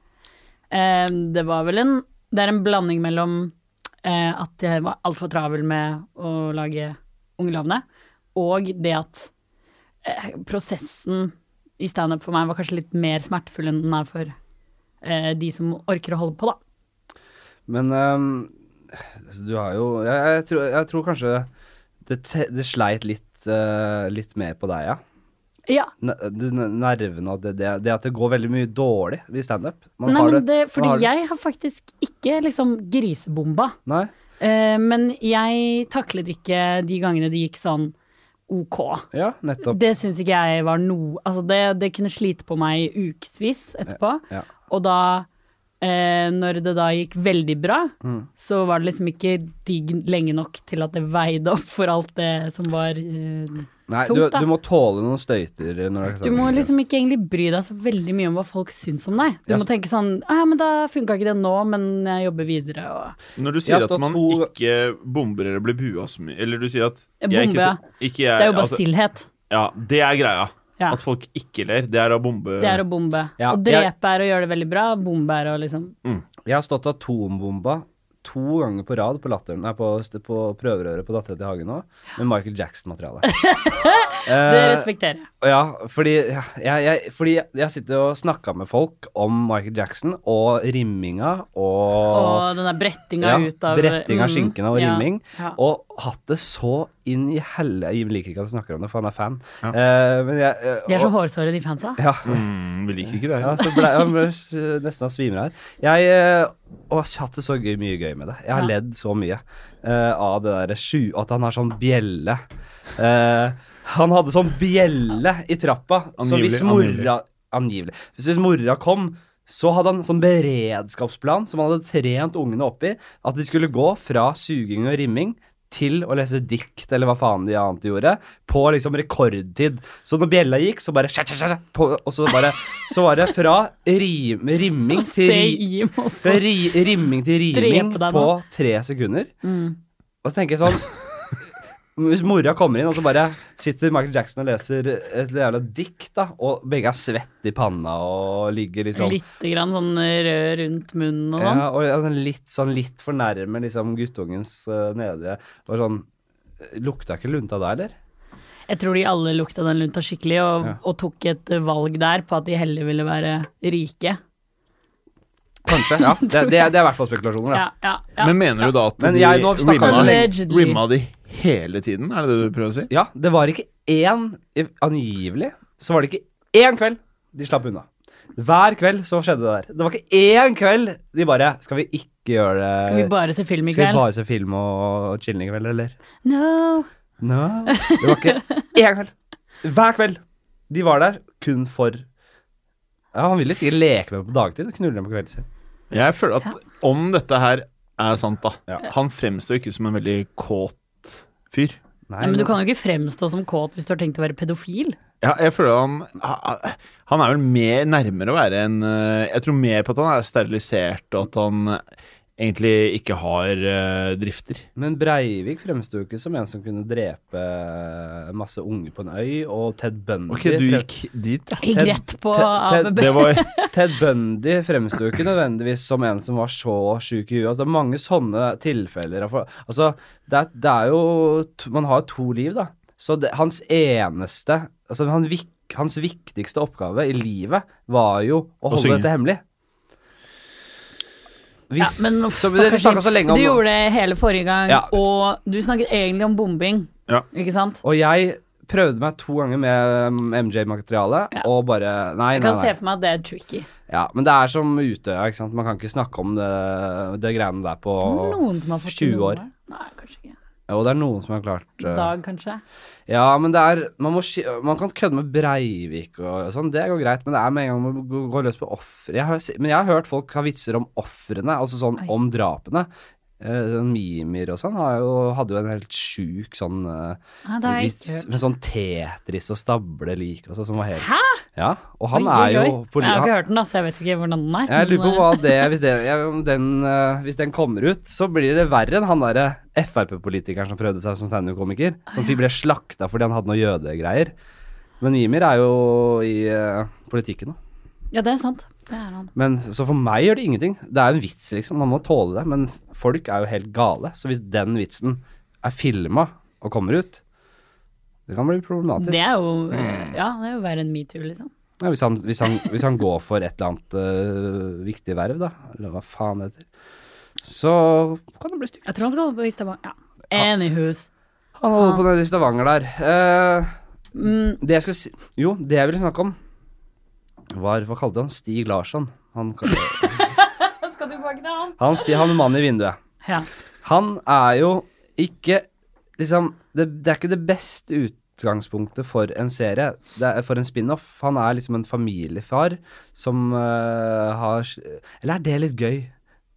S4: Ehm, det var vel en Det er en blanding mellom eh, at jeg var altfor travel med å lage Ungelovene, og det at eh, prosessen i standup for meg var kanskje litt mer smertefull enn den er for eh, de som orker å holde på, da.
S2: Men ehm, du har jo Jeg, jeg, tror, jeg tror kanskje det, te, det sleit litt, eh, litt mer på deg, ja.
S4: Ja,
S2: Ne- du- ne- Nervene og det, det, det at det går veldig mye dårlig i standup. Man
S4: Nei,
S2: har
S4: men det,
S2: man
S4: fordi
S2: har det-
S4: jeg har faktisk ikke liksom grisebomba.
S2: Nei?
S4: Eh, men jeg taklet ikke de gangene det gikk sånn OK.
S2: Ja, nettopp.
S4: Det syns ikke jeg var noe Altså, det, det kunne slite på meg i ukevis etterpå.
S2: Ja.
S4: Og da eh, Når det da gikk veldig bra,
S2: Mm.
S4: så var det liksom ikke digg lenge nok til at det veide opp for alt det som var eh,
S2: Nei,
S4: tungt,
S2: du,
S4: da.
S2: du må tåle noen støyter. Når det er
S4: Du må
S2: sånn-
S4: liksom ikke egentlig bry deg så veldig mye om hva folk syns om deg. Du
S2: Jeg st-
S4: må tenke sånn Ja, men da funka ikke det nå, men jeg jobber videre og
S3: Når du
S2: Jeg
S3: sier
S2: har
S3: at
S2: stått
S3: man
S2: to-
S3: ikke bomber eller blir bua så mye Eller du sier at
S4: Jeg
S3: jeg
S4: bomber,
S3: ikke, ikke jeg,
S4: Det er jo
S2: Eh,
S4: bare
S3: altså,
S4: stillhet.
S3: Ja, det er greia.
S4: Ja.
S3: At folk ikke ler. Det er å bombe
S4: Det er å bombe.
S2: Ja,
S4: Å drepe er å gjøre det veldig bra. Bombe er å liksom
S2: Jeg har stått atombomba to ganger på rad på, latteren, nei, på, st- på prøverøret på Dattera til Hagen nå, med Michael
S4: <laughs>
S2: Jackson-materiale.
S4: Det
S2: Eh,
S4: respekterer jeg.
S2: ja, fordi ja, jeg, jeg, fordi jeg sitter og snakker med folk om Michael Jackson og rimminga og,
S4: Og den der brettinga
S2: ja,
S4: ut av
S2: bretting av
S4: mm,
S2: skinkene og
S4: ja,
S2: rimming.
S4: ja.
S2: Og hatt det så inn i helle Jim liker ikke at jeg snakker om det, for han er fan.
S3: Ja.
S2: Eh, men jeg, eh,
S4: De er så
S2: og-
S4: hårsåre, de fansa.
S2: ja,
S3: mm, Vi liker ikke det.
S2: ja, så ble, jeg ble s- nesten av svimer her. Jeg eh, og jeg har hatt det så gøy, mye gøy med det. Jeg har
S4: Ja.
S2: ledd så mye eh, av det derre sju At han har sånn bjelle. Eh, han hadde sånn bjelle i trappa. så hvis
S3: Angivelig,
S2: mora Angivelig. Hvis, hvis mora kom så hadde han sånn beredskapsplan som han hadde trent ungene opp i. At de skulle gå fra suging og rimming til å lese dikt eller hva faen de annet gjorde, på liksom rekordtid. Så når bjella gikk, så bare skjæ, skjæ, skjæ, på, Og så bare Så var det fra rim, rimming til
S4: <laughs> Se
S2: ri,
S4: Jim opp.
S2: fra ri, rimming til riming
S4: Drepe deg nå. Mm.
S2: på tre sekunder. Og så tenker jeg sånn Hvis mora kommer inn, og så bare sitter Michael Jackson og leser et jævla dikt, da, og begge er svett i panna og ligger liksom
S4: Litt grann sånn rød rundt munnen og sånn.
S2: ja, og altså, litt, sånn, litt for nærme liksom, guttungens eh, nedre og sånn, Lukta ikke lunta der, eller?
S4: Jeg tror de alle lukta den lunta skikkelig, og,
S2: Ja.
S4: og tok et valg der på at de heller ville være rike.
S2: Kanskje.
S4: <laughs>
S2: ja. Det, det, det er i hvert fall spekulasjoner. Da.
S4: Ja, ja, ja.
S3: Men mener du da at
S2: Men
S3: de
S2: jeg- sånn- nå snakket
S3: rimma
S2: vi så
S4: lenge.
S3: de- rimma de hele tiden? Er det det du prøver å si?
S2: Ja, det var ikke én Angivelig så var det ikke én kveld de slapp unna. Hver kveld så skjedde det der. Det var ikke én kveld de bare Skal vi ikke gjøre det
S4: Skal vi bare se film i
S2: Skal vi
S4: kveld?
S2: bare se film og, og chille i kveld, eller?
S4: No.
S2: No. Det var ikke én kveld. Hver kveld. De var der kun for Ja, han ville sikkert leke med dem på dagtid og knulle dem på kveldstid.
S3: Jeg føler at om dette her er sant, da
S2: Ja.
S3: Han fremstår ikke som en veldig kåt fyr.
S2: Nei,
S4: Nei, men du
S2: nå-
S4: kan jo ikke fremstå som kåt hvis du har tenkt å være pedofil.
S3: Ja, jeg føler han Han er vel mer nærmere å være en eh, Jeg tror mer på at han er sterilisert, og at han egentlig ikke har eh, drifter.
S2: Men Breivik fremsto jo ikke som en som kunne drepe masse unge på en øy, og Ted Bundy
S3: Ok, du
S2: frem-
S3: gikk dit, ja.
S4: Gikk
S2: Ted-
S4: rett på
S2: Ted- Ted-
S4: ABB.
S3: Det var
S4: <laughs>
S2: Ted Bundy fremsto jo ikke nødvendigvis som en som var så sjuk i huet. Altså, det er mange sånne tilfeller. av folk- Altså, det er, det er jo t- Man har jo to liv, da. Så det, hans eneste Altså, han, vik- hans viktigste oppgave i livet var jo å holde
S3: synge.
S2: dette hemmelig. Vi,
S4: Ja, men uff,
S2: så, dere
S4: stakkars
S2: snakka så
S4: Liv.
S2: lenge om
S4: Du gjorde det hele forrige gang,
S2: Ja.
S4: og du snakket egentlig om bombing,
S3: Ja.
S4: ikke sant?
S2: Og jeg prøvde meg to ganger med MJ-materiale,
S4: Ja.
S2: og bare Nei, nei,
S4: Jeg kan
S2: nei.
S4: se for meg at det er tricky.
S2: Ja, men det er som Utøya, ikke sant. Man kan ikke snakke om det, det greiene der på
S4: Noen som har fått
S2: 20
S4: noe
S2: år.
S4: der? Nei, kanskje ikke.
S2: Jo, det er noen som har klart eh,
S4: Dag, kanskje.
S2: Ja, men det er man, må, ski- man kan kødde med Breivik og sånn, det går greit, men det er med en gang man gå- går løs på ofre. Jeg har se- Men jeg har hørt folk ha vitser om ofrene, altså sånn
S4: Oi.
S2: om drapene. Eh, sånn Mimir og sånn har jo, hadde jo en helt sjuk sånn eh,
S4: Nei, Ah, det har jeg ikke
S2: vits
S4: hørt.
S2: med sånn Tetris og stablelik og sånn, som var helt
S4: Hæ?
S2: Ja, og han
S4: Oi,
S2: er
S4: oi,
S2: jo
S4: oi.
S2: poli-
S4: Jeg har
S2: han-
S4: ikke hørt den, altså. Jeg vet ikke hvordan den er.
S2: Jeg lurer på
S4: men,
S2: hva det Hvis, det, ja, om den, eh, hvis den kommer ut, så blir det verre enn han derre Frp-politikeren som prøvde seg som standup-komiker. Som fikk- ble slakta fordi han hadde noe jødegreier. Men Mimir er jo i eh, politikken nå.
S4: eh, Ja, det er sant. Det er han.
S2: Men Så for meg gjør det ingenting. Det er jo en vits, liksom. Man må tåle det. Men folk er jo helt gale. Så hvis den vitsen er filma og kommer ut, det Hmm. kan bli problematisk.
S4: Det er jo eh, Ja, det er jo verre enn metoo, liksom.
S2: Ja, hvis, han, hvis, han, hvis han går for et eller annet øh, viktig verv, da, eller hva faen det heter, så kan det bli stygt.
S4: Jeg tror han skal holde på i Stavanger. Ja. Anyhoos.
S2: Han holder på nede i Stavanger der. Eh,
S4: Mm,
S2: det jeg skulle si Jo, det jeg ville snakke om, var Hva kalte du han? Stig Larsson? Han, kal-
S4: skal du bake det an?
S2: han, Stig, han mannen i vinduet.
S4: Ja.
S2: Han er jo ikke Liksom, det, det er ikke det beste utgangspunktet for en serie, det er for en spin-off. Han er liksom en familiefar som øh, har Eller er det litt gøy?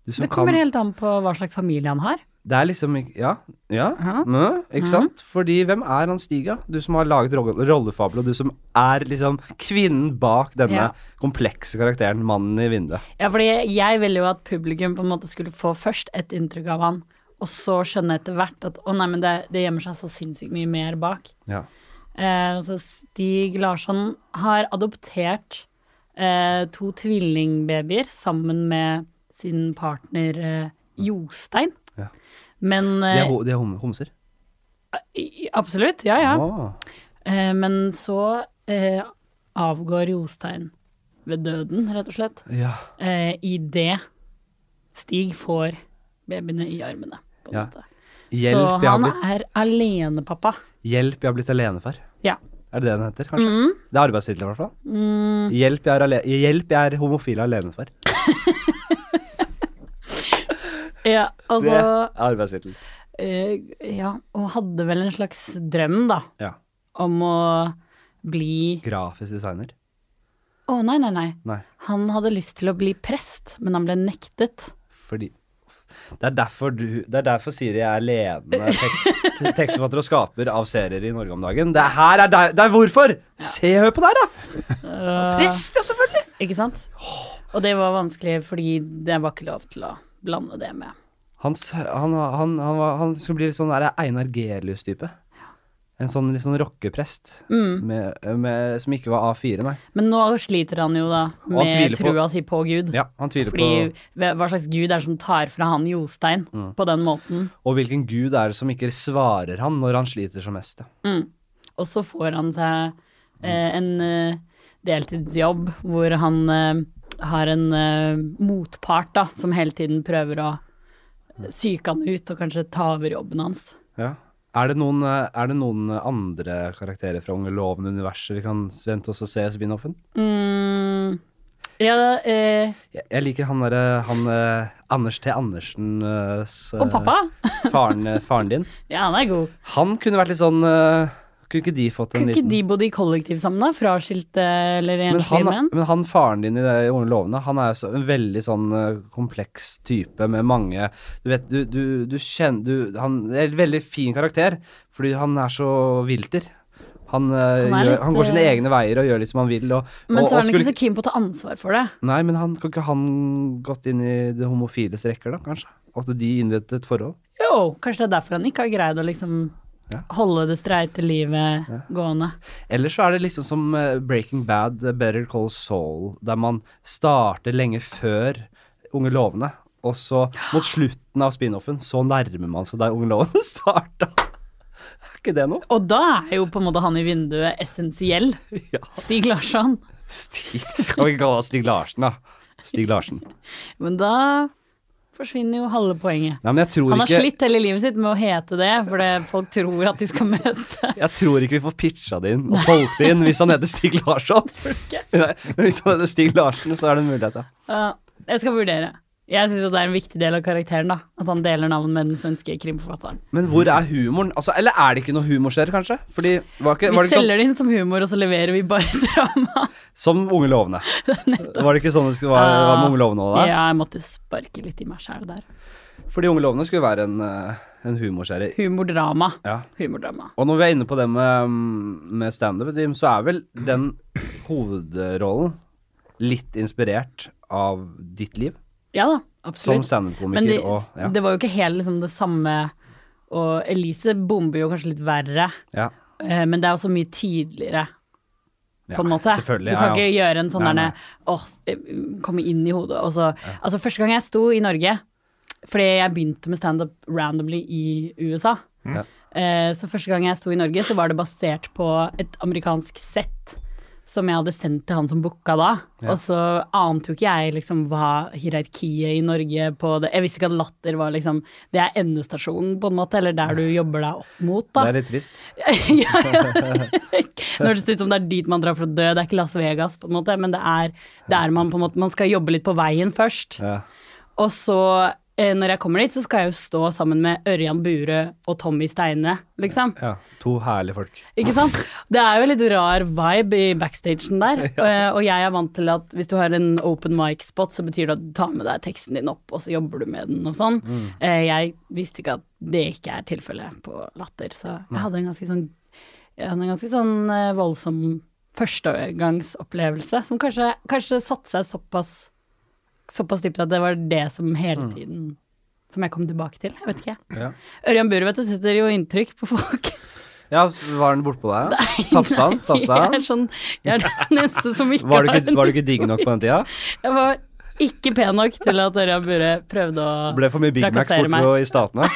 S2: Du som
S4: Det kommer
S2: kan-
S4: helt an på hva slags familie han har.
S2: Det er liksom ikke- Ja. ja
S4: Ja.
S2: mø, ikke sant? Fordi hvem er han Stiga? Du som har laget ro- rollefabel, og du som er liksom kvinnen bak denne
S4: Ja.
S2: komplekse karakteren, mannen i vinduet.
S4: Ja, fordi jeg ville jo at publikum på en måte skulle få først et inntrykk av han, og så skjønne etter hvert at å nei, men det, det gjemmer seg så sinnssykt mye mer bak.
S2: Ja.
S4: Eh, altså Stig Larsson har adoptert eh, to tvillingbabyer sammen med sin partner eh, Jostein.
S2: Ja.
S4: Men
S2: De er,
S4: eh,
S2: ho- de er hom homser.
S4: i- Absolutt, ja ja.
S2: Å.
S4: Eh, men så eh, avgår Jostein ved døden, rett og slett.
S2: ja.
S4: eh, i det Stig får babyene i armene. På en
S2: Ja.
S4: måte.
S2: Hjelp, jeg
S4: så
S2: har
S4: han
S2: blitt,
S4: er alenepappa.
S2: hjelp, jeg har blitt alenefar.
S4: Ja.
S2: Er det det den heter, kanskje?
S4: Mm.
S2: Det er arbeidstittelen, i hvert fall. Hjelp, jeg er, ale hjelp, jeg er homofil alenefar.
S4: ja
S2: Det
S4: altså
S2: er arbeidstittelen.
S4: eh, Ja, og hadde vel en slags drøm, da,
S2: Ja.
S4: om å bli
S2: Grafisk designer.
S4: Å, nei, nei, nei.
S2: Nei,
S4: Han hadde lyst til å bli prest, men han ble nektet.
S2: fordi det er derfor, du, det er derfor Siri er ledende tek <laughs> tekstforfatter og skaper av serier i Norge om dagen. Det her er der, det er hvorfor! Se, hør på der, da! Prest, ja, selvfølgelig!
S4: Ikke sant? Og det var vanskelig, fordi det var ikke lov til å blande det med
S2: Han, s- han, var- han, han, var- han skulle bli litt sånn der Einar Gelius-type. En sånn litt sånn rockeprest med, med, som ikke var A4, nei.
S4: Men nå sliter han jo, da,
S2: han
S4: med
S2: tviler på-
S4: trua si på Gud.
S2: Ja, han tviler
S4: Fordi
S2: på
S4: hva hva slags gud er det som tar fra han Jostein på den måten?
S2: Og hvilken gud er det som ikke svarer han når han sliter som mest? ja.
S4: Og så får han seg eh,
S2: Mm.
S4: en eh, deltidsjobb hvor han eh, har en eh, motpart da, som hele tiden prøver å
S2: Mm.
S4: psyke han ut og kanskje ta over jobben hans.
S2: Ja. Er det, noen, eh, er det noen eh, andre karakterer fra Unge lovende universet vi kan vente oss å se i spin-offen?
S4: Mm, ja, eh,
S2: Jeg, jeg liker han derre han eh, Anders T. Andersens
S4: og pappa.
S2: Faren, eh, faren din.
S4: Ja, han er god.
S2: Han kunne vært litt sånn eh, Kunne ikke de fått en
S4: Kunne ikke
S2: liten
S4: de bodd i kollektiv sammen, da? Fraskilte eller
S2: men
S4: enslige
S2: han,
S4: menn?
S2: men han faren din i det i Unge lovende, han er jo så, en veldig sånn eh, kompleks type med mange Du vet, du, du, du kjenner du, Han er en veldig fin karakter, fordi han er så vilter. Han, eh,
S4: Han er
S2: gjør,
S4: litt,
S2: han går sine
S4: eh,
S2: egne veier og gjør litt som han vil. Og,
S4: Men
S2: og,
S4: så
S2: og
S4: er han
S2: skulle
S4: ikke så keen på å ta ansvar for det.
S2: Nei, men han, kan ikke han gått inn i det homofiles rekker, da, kanskje? Og at de innledet et forhold?
S4: Jo, kanskje det er derfor han ikke har greid å liksom
S2: Ja.
S4: holde det streite livet gående.
S2: Eller så er det liksom som eh, Breaking Bad, eh, Better Call Saul, der man starter lenge før Unge lovende, og så mot slutten av spin-offen så nærmer man seg der Unge <laughs> lovende starta. Er ikke det noe?
S4: Og da er jo på en måte han i vinduet essensiell.
S2: <laughs> Ja.
S4: Stig Larsson.
S2: Stig Kan vi ikke kalle han Stig Larsen, da? Stig Larsen.
S4: Men da forsvinner jo halve poenget.
S2: Nei, men jeg tror
S4: Han har
S2: ikke
S4: slitt hele livet sitt med å hete det, fordi folk tror at de skal <laughs> møte
S2: Jeg tror ikke vi får pitcha det inn og solgt det inn hvis han heter Stig Larsson. <laughs> Nei, men hvis han heter Stig Larsen, så er det en mulighet, ja.
S4: Ja, Jeg skal vurdere. Jeg syns jo det er en viktig del av karakteren, da. At han deler navn med den svenske krimforfatteren.
S2: Men hvor er humoren? Altså, eller er det ikke noe humor, ser kanskje? Fordi, var ikke,
S4: Vi
S2: var det ikke sånn,
S4: selger det inn som humor, og så leverer vi bare <laughs> drama.
S2: Som Unge lovende.
S4: <laughs>
S2: Var det ikke sånn det skulle være var med Unge lovende òg?
S4: Ja, jeg måtte sparke litt i meg sjæl der.
S2: Fordi Unge lovende skulle være en, eh, en humorserie.
S4: Humordrama.
S2: Ja.
S4: Humordrama.
S2: Og når vi er inne på det med, mm, med standup, Jim, så er vel den hovedrollen litt inspirert av ditt liv
S4: Ja da,
S2: som
S4: absolutt. Men
S2: standup-komiker
S4: det,
S2: og ja,
S4: det var jo ikke helt liksom det samme Og Elise bomber jo kanskje litt verre,
S2: ja.
S4: eh, men det er også mye tydeligere,
S2: Ja,
S4: på en måte.
S2: Selvfølgelig.
S4: du kan
S2: ja,
S4: ikke
S2: ja.
S4: gjøre en sånn
S2: Nei,
S4: derne
S2: nei.
S4: åh, s- eh, komme inn i hodet, og så Altså, første gang jeg sto i Norge, fordi jeg begynte med standup randomly i USA,
S2: Mm. Ja.
S4: eh, så første gang jeg sto i Norge, så var det basert på et amerikansk sett. Som jeg hadde sendt til han som booka da. Og så ante jo ikke jeg liksom hva hierarkiet i Norge på det Jeg visste ikke at latter var liksom Det er endestasjonen, på en måte, eller der du jobber deg opp mot, da.
S2: Det er litt trist.
S4: ja, ja. Nå høres det ut som det er dit man drar for å dø, det er ikke Las Vegas, på en måte, men det er der man på en måte Man skal jobbe litt på veien først.
S2: Ja.
S4: Og så, eh, når jeg kommer dit, så skal jeg jo stå sammen med Ørjan Bure og Tommy Steine, liksom.
S2: Ja. To herlige folk.
S4: Ikke sant? Det er jo litt rar vibe i backstagen der. eh, Og jeg er vant til at hvis du har en open mic-spot, så betyr det at du tar med deg teksten din opp, og så jobber du med den og sånn. Eh, Jeg visste ikke at det ikke er tilfellet på latter, så jeg hadde en ganske sånn, jeg hadde en ganske sånn eh, voldsom førstegangsopplevelse, som kanskje, kanskje satte seg såpass, såpass dypt at det var det som hele tiden Som jeg kom tilbake til. Jeg vet ikke.
S2: Ja.
S4: Ørjan Bure, vet du, setter jo inntrykk på folk.
S2: Ja, var den bortpå deg? ja? Tafsa han? Tafsa
S4: <laughs> Jeg er,
S2: han?
S4: sånn, jeg er den eneste som ikke
S2: Var du ikke,
S4: har
S2: var du ikke digg nok på den tida?
S4: Jeg var ikke pen nok til at Ørjan Bure prøvde å
S2: Ble for mye Big Macs
S4: Trakassere meg.
S2: bortpå i statene?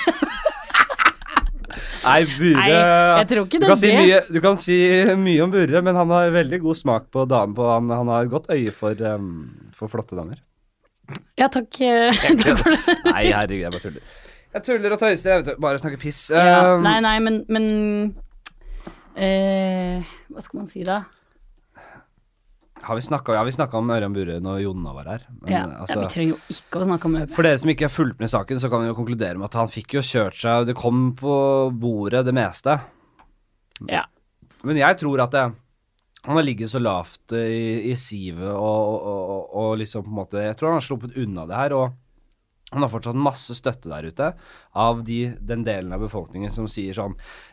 S4: <laughs>
S2: Nei, Bure
S4: Nei, jeg tror ikke
S2: du
S4: det
S2: kan, si
S4: er
S2: mye, du kan si mye om Bure, men han har veldig god smak på damer. På, han, han har godt øye for, em, for flotte damer.
S4: Ja, takk, eh, <laughs> takk for det.
S2: Nei, herregud, jeg bare tuller. Jeg tuller og tøyser. Jeg vet, du. bare snakker piss. Ehm,
S4: Ja,
S2: Em,
S4: nei, nei, men, men eh, Hva skal man si da?
S2: har vi snakka ja, vi snakket om Ørjan Bure når Jonna var her? Men,
S4: Ja, ja,
S2: altså-
S4: vi trenger jo ikke å snakke om Øb.
S2: For dere som ikke har fulgt med i saken, så kan vi jo konkludere med at han fikk jo kjørt seg Det kom på bordet, det meste.
S4: Ja.
S2: Men jeg tror at det, han har ligget så lavt eh, i, i sivet og, og, og, og liksom på en måte Jeg tror han har sluppet unna det her. og han har fortsatt masse støtte der ute av de, den delen av befolkningen som sier sånn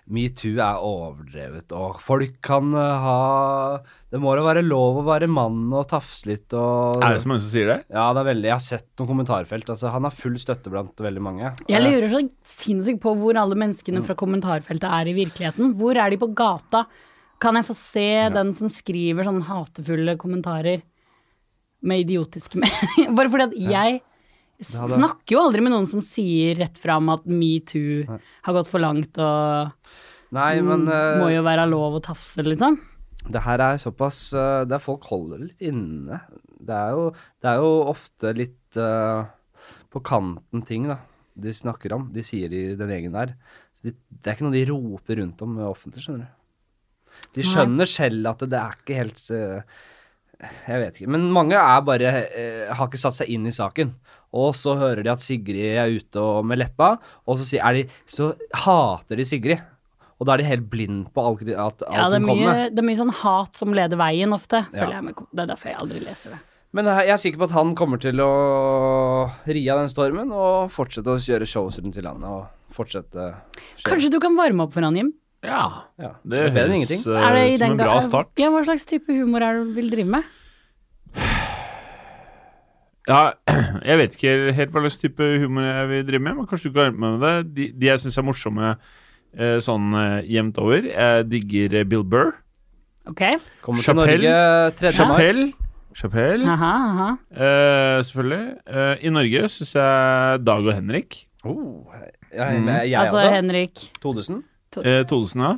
S2: Metoo er overdrevet, og folk kan eh, ha Det må da være lov å være mann og tafse litt og
S3: Er det så mange som sier det?
S2: ja, det er veldig, jeg har sett noen kommentarfelt. Altså, han har full støtte blant veldig mange.
S4: Jeg lurer så sinnssykt på hvor alle menneskene fra kommentarfeltet er i virkeligheten. Hvor er de på gata? Kan jeg få se den som skriver sånne hatefulle kommentarer med idiotiske meninger? <laughs> Bare fordi at jeg
S2: hadde-
S4: snakker jo aldri med noen som sier rett fram at metoo har gått for langt og mm,
S2: Nei,
S3: Mm,
S2: men eh,
S4: må jo være lov å tafse, liksom.
S2: det her er såpass eh, Det er folk holder det litt inne. Det er jo, det er jo ofte litt eh, på kanten ting, da. De snakker om. De sier de den egen der. Så de, det er ikke noe de roper rundt om eh, offentlig, skjønner du. De skjønner selv at det, det er ikke helt eh, Jeg vet ikke. Men mange er bare eh, har ikke satt seg inn i saken. Og så hører de at Sigrid er ute og med leppa, og så, sier, er de, så hater de Sigrid. Og da er de helt blind på alt, at, alt
S4: Ja, det er,
S2: hun kommer
S4: mye,
S2: med.
S4: det er mye sånn hat som leder veien ofte,
S2: Ja.
S4: føler jeg. Med, kom- det er derfor jeg aldri leser det.
S2: Men jeg er sikker på at han kommer til å ri av den stormen og fortsette å gjøre shows rundt i landet og fortsette å kjøre.
S4: Kanskje du kan varme opp for han, Jim?
S3: Ja.
S2: Ja.
S3: Det
S2: bedre enn
S3: høres
S2: ingenting.
S3: eh,
S4: Er det i
S3: ut som
S4: den
S3: en bra
S4: ga-
S3: start.
S4: Ja, hva slags type humor er det du vil drive med?
S3: Ja, <clears throat> jeg vet ikke helt hva slags type humor jeg vil drive med, men kanskje du kan hjelpe meg med det. De, de jeg syns er morsomme eh, sånn eh, jevnt over. Jeg digger eh, Bill Burr.
S4: Ok.
S2: Kommer til
S3: Chappelle.
S2: Norge 3. mai.
S3: Chappelle. Chappelle.
S4: Aha, aha.
S3: Eh, selvfølgelig. Eh, I Norge syns jeg Dag og Henrik.
S2: Oh, jeg, jeg, jeg
S4: altså
S2: også.
S4: Henrik
S2: 2000.
S3: Eh, Thodesen, ja.